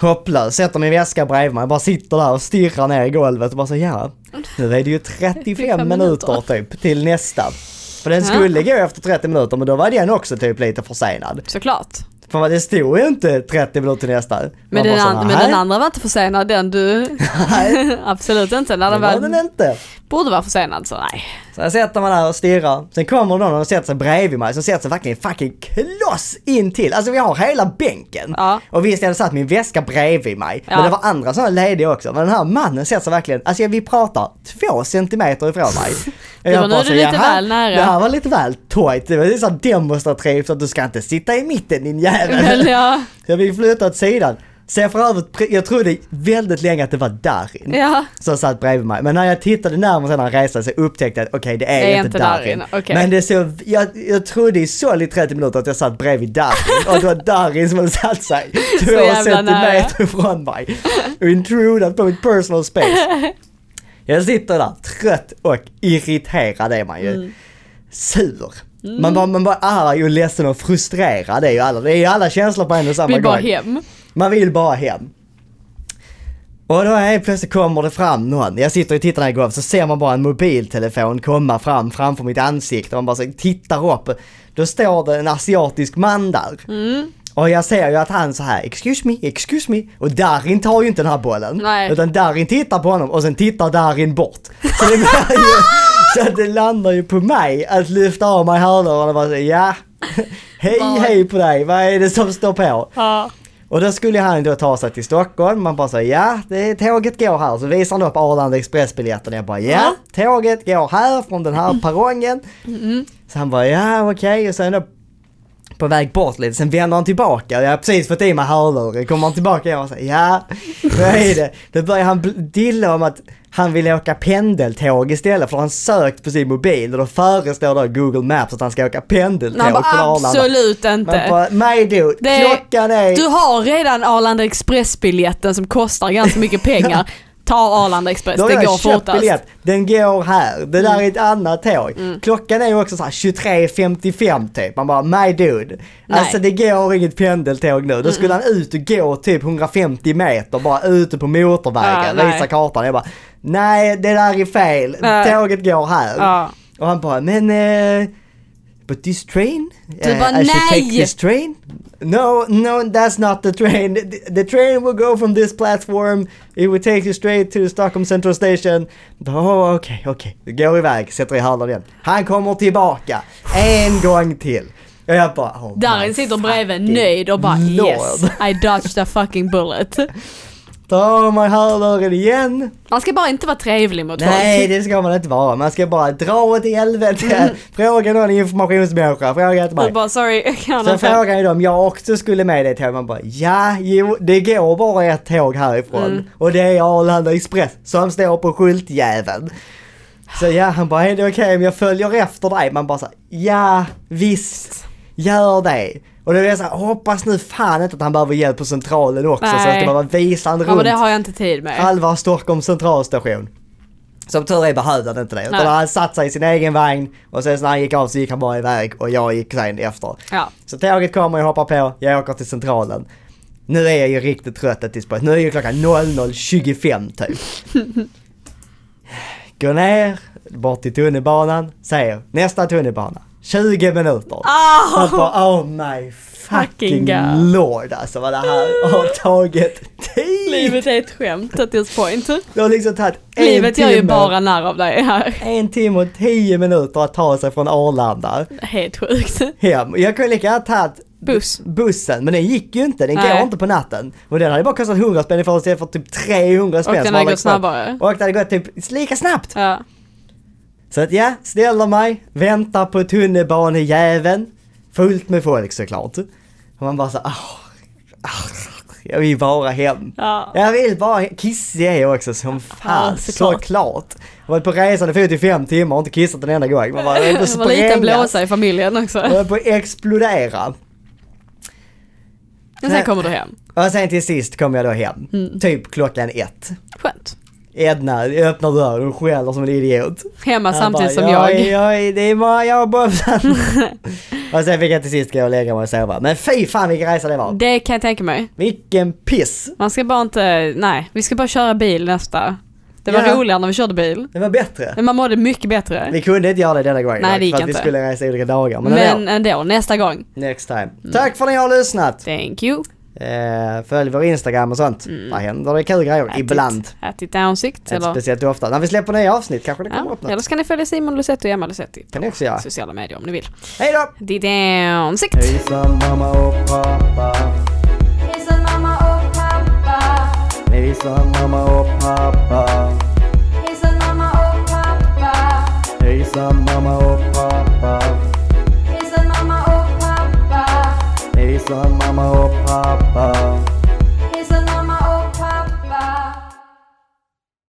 Speaker 1: Hopplös, sätter min väska bredvid mig, Jag bara sitter där och stirrar ner i golvet och bara så ja, nu är det ju 35
Speaker 2: 35
Speaker 1: minuter typ till nästa. För den skulle gå efter 30 minuter men då var den också typ lite försenad.
Speaker 2: Såklart.
Speaker 1: För vad det stod ju inte 30 minuter till nästa. Man
Speaker 2: Men den,
Speaker 1: bara så,
Speaker 2: an- men
Speaker 1: "Nej,
Speaker 2: den andra var inte försenad den du...
Speaker 1: Nej.
Speaker 2: *laughs* Absolut inte. När
Speaker 1: det
Speaker 2: den
Speaker 1: var den
Speaker 2: var,
Speaker 1: inte.
Speaker 2: borde vara försenad så nej.
Speaker 1: Så jag sätter mig där och stirrar. Sen kommer någon och sätter sig bredvid mig som sätter sig verkligen fucking kloss intill. Alltså vi har hela bänken.
Speaker 2: Ja.
Speaker 1: Och visst jag hade satt min väska bredvid mig.
Speaker 2: Ja.
Speaker 1: Men det var andra sådana lediga också. Men den här mannen sätter sig verkligen, alltså vi pratar två centimeter ifrån
Speaker 2: *laughs*
Speaker 1: mig.
Speaker 2: Det
Speaker 1: Jag
Speaker 2: var
Speaker 1: bara
Speaker 2: nu
Speaker 1: så,
Speaker 2: lite
Speaker 1: "Jaha,
Speaker 2: väl nära."
Speaker 1: Det här var lite väl tight. Det var ju så här demonstrativt att du ska inte sitta i mitten din jävel.
Speaker 2: Men ja,
Speaker 1: Jag fick flytta åt sidan. Så jag för övrigt, pre- jag trodde väldigt länge att det var Darin
Speaker 2: ja.
Speaker 1: som satt bredvid mig. Men när jag tittade närmare sen när han reste sig upptäckte jag att okej det är, inte, Darin.
Speaker 2: okej.
Speaker 1: Men det så, jag, jag trodde i solid 30 minuter att jag satt bredvid Darin och det var Darin som hade satt sig två
Speaker 2: jävla
Speaker 1: centimeter ifrån mig och intrudat på mitt personal space. Jag sitter där trött och irriterad är man ju. Sur. Man, bara, man bara arg och ledsen och frustrerad det är ju alla, det är ju alla känslor på en och samma
Speaker 2: Vill
Speaker 1: gång.
Speaker 2: bara hem.
Speaker 1: Man vill bara hem. Och då helt plötsligt kommer det fram någon. Jag sitter och tittar ner i golvet så ser man bara en mobiltelefon komma fram framför mitt ansikte. Man bara så tittar upp. Då står det en asiatisk man där. Och jag ser ju att han så här, excuse me, excuse me. Och Darin tar ju inte den här bollen.
Speaker 2: Nej.
Speaker 1: Utan Darin tittar på honom och sen tittar Darin bort. Så det, blir ju, så att det landar ju på mig att lyfta av mig hörlurarna och bara så, ja. *laughs* Hej hej på dig, vad är det som står på?
Speaker 2: Ja.
Speaker 1: Och då skulle han då ta sig till Stockholm. Man bara säger ja, det, tåget går här. Så visar han upp Arlanda Express-biljetten. Jag bara ja, tåget går här från den
Speaker 2: Mm.
Speaker 1: här perrongen. Så han bara ja, okej. Och sen då på väg bort lite, sen vänder han tillbaka. Jag har precis fått i mig hörlurar. Kommer han tillbaka igen och säger ja, vad är det? Då börjar han bl- dilla om att han vill åka pendeltåg istället för han sökt på sin mobil och då föreslår då Google Maps att han ska åka pendeltåg
Speaker 2: Man
Speaker 1: från
Speaker 2: bara,
Speaker 1: Arlanda.
Speaker 2: absolut inte.
Speaker 1: Man bara, my dude,
Speaker 2: Det är-
Speaker 1: klockan är...
Speaker 2: Du har redan Arlanda Express-biljetten som kostar ganska
Speaker 1: *laughs*
Speaker 2: mycket pengar. Ta Arlanda Express,
Speaker 1: Då har
Speaker 2: det
Speaker 1: jag
Speaker 2: går
Speaker 1: köpt
Speaker 2: fortast. Mm.
Speaker 1: biljett. Den går här. Det där är ett annat tåg. Klockan är ju också såhär 23.55 typ. Man bara, my dude.
Speaker 2: Nej. Mm.
Speaker 1: Alltså det går inget pendeltåg nu. Då skulle han ut och gå typ 150 meter bara ute på motorvägen.
Speaker 2: Ja, Ah, nej.
Speaker 1: visa kartan. Jag bara, nej det där är fel.
Speaker 2: Nej. Ah.
Speaker 1: Tåget går här.
Speaker 2: Ja.
Speaker 1: Och han bara, men... eh, But this train?
Speaker 2: Du
Speaker 1: Eh,
Speaker 2: bara,
Speaker 1: I should
Speaker 2: "Nej."
Speaker 1: take this train? No, no, that's not the train. The, the train will go from this platform. It will take you straight to Stockholm Central Station. Oh, okej, okej. Går iväg, sätter i hörlurar igen. Han kommer tillbaka. En gång till. Och jag bara, oh my
Speaker 2: Darin sitter bredvid
Speaker 1: fucking
Speaker 2: nöjd och bara
Speaker 1: lord.
Speaker 2: yes, I dodged a fucking bullet.
Speaker 1: Ta mig hörluren igen.
Speaker 2: Man ska bara inte vara trevlig mot
Speaker 1: Nej,
Speaker 2: folk.
Speaker 1: det ska man inte vara. Man ska bara dra åt i helvete. Fråga någon informationsmänniska. Fråga inte mig.
Speaker 2: Mm. Och bara sorry, jag kan
Speaker 1: Sen
Speaker 2: inte.
Speaker 1: frågade ju de, jag också skulle med det tåget. Man bara, ja, jo, det går bara ett tåg härifrån.
Speaker 2: Mm.
Speaker 1: Och det är Arlanda Express som står på skyltjäveln. Så ja, han bara, är det okej om jag följer efter dig? Man bara så här, ja, visst, gör det. Och då är jag så här, hoppas nu fan inte att han behöver hjälp på centralen också. Så
Speaker 2: Nej.
Speaker 1: ska man bara visa han
Speaker 2: Ja men
Speaker 1: runt
Speaker 2: det har jag inte tid med.
Speaker 1: halva Stockholms centralstation. Som tur är behövde han inte det. Utan
Speaker 2: Nej.
Speaker 1: han satt sig i sin egen vagn och sen när han gick av så gick han bara iväg och jag gick sen efter.
Speaker 2: Ja.
Speaker 1: Så tåget kommer, jag hoppar på, jag åker till centralen. Nu är jag ju riktigt trött att dispå. Nu är ju klockan 00.25
Speaker 2: *laughs*
Speaker 1: typ. Går ner, bort till tunnelbanan, säger nästa tunnelbana. 20 minuter.
Speaker 2: Ah!
Speaker 1: Man bara oh my fucking
Speaker 2: Fucking God.
Speaker 1: lord alltså vad det här har tagit tid.
Speaker 2: Livet är ett skämt at this point.
Speaker 1: Det har liksom tagit en
Speaker 2: Livet gör
Speaker 1: timme,
Speaker 2: ju bara narr av dig här.
Speaker 1: en timme och tio minuter att ta sig från Arlanda
Speaker 2: Helt sjukt.
Speaker 1: hem. Jag kunde lika gärna tagit
Speaker 2: Buss.
Speaker 1: bussen, men den gick ju inte, den
Speaker 2: Nej.
Speaker 1: går inte på natten. Och den hade bara kostat 100 spänn ifall istället för typ 300 spänn.
Speaker 2: den
Speaker 1: som
Speaker 2: hade
Speaker 1: alla
Speaker 2: gått
Speaker 1: kostar.
Speaker 2: snabbare.
Speaker 1: Och det hade gått typ lika snabbt.
Speaker 2: Ja.
Speaker 1: Så att ja, ställer mig, väntar på tunnelbanejäveln. Fullt med folk såklart. Och man bara så ah, ah, jag vill bara hem.
Speaker 2: Ja.
Speaker 1: Jag vill bara he- Kissig är jag också som fan,
Speaker 2: såklart.
Speaker 1: såklart. Jag var på resande fot i fem timmar och inte kissat en enda gång. Man bara, jag vill
Speaker 2: *laughs* Det var lite
Speaker 1: sprängas.
Speaker 2: blåsa i familjen
Speaker 1: Jag
Speaker 2: också.
Speaker 1: höll på att explodera.
Speaker 2: Men sen kommer du hem.
Speaker 1: Och sen till sist kom jag då hem.
Speaker 2: Mm.
Speaker 1: Typ klockan ett.
Speaker 2: Skönt.
Speaker 1: Edna öppnar dörren och skäller som en idiot.
Speaker 2: Hemma
Speaker 1: Han
Speaker 2: samtidigt
Speaker 1: bara,
Speaker 2: som jag.
Speaker 1: "Oj, oj, det är bara jag och
Speaker 2: *laughs*
Speaker 1: Bobban. och sen fick jag till sist gå och lägga mig och sova. Men fy fan vilken resa det var.
Speaker 2: Det kan jag tänka mig.
Speaker 1: Vilken piss.
Speaker 2: Man ska bara inte, nej, vi ska bara köra bil nästa. Det var
Speaker 1: Ja.
Speaker 2: roligare när vi körde bil.
Speaker 1: Det var bättre.
Speaker 2: Men man mådde mycket bättre.
Speaker 1: Vi kunde inte göra det denna gången.
Speaker 2: Nej,
Speaker 1: dock,
Speaker 2: det gick
Speaker 1: för att
Speaker 2: inte.
Speaker 1: vi skulle resa olika dagar. Men,
Speaker 2: Men Mm.
Speaker 1: men...
Speaker 2: ändå, nästa gång.
Speaker 1: next time. Tack för att ni har lyssnat.
Speaker 2: Thank you.
Speaker 1: Eh, följ vår Instagram och sånt.
Speaker 2: Mm.
Speaker 1: Där händer det kul grejer. Ibland.
Speaker 2: Att ditt ansikt
Speaker 1: Inte
Speaker 2: eller...
Speaker 1: speciellt ofta. När vi släpper nya avsnitt kanske det kommer
Speaker 2: Ja,
Speaker 1: upp
Speaker 2: eller
Speaker 1: något.
Speaker 2: så kan ni följa Simon Lusetti och Emma Lusetti
Speaker 1: Kan ni också göra.
Speaker 2: på sociala medier om ni vill.
Speaker 1: Hej då!
Speaker 2: Ditt ansikt.
Speaker 1: Hejsan mamma och pappa.
Speaker 3: Hejsan mamma och pappa.
Speaker 1: Hejsan mamma och pappa.
Speaker 3: Hejsan mamma och pappa.
Speaker 1: Hejsan mamma och pappa.
Speaker 3: oh, Hejsan mamma och pappa.
Speaker 1: Hejsan mamma och pappa.
Speaker 3: oh,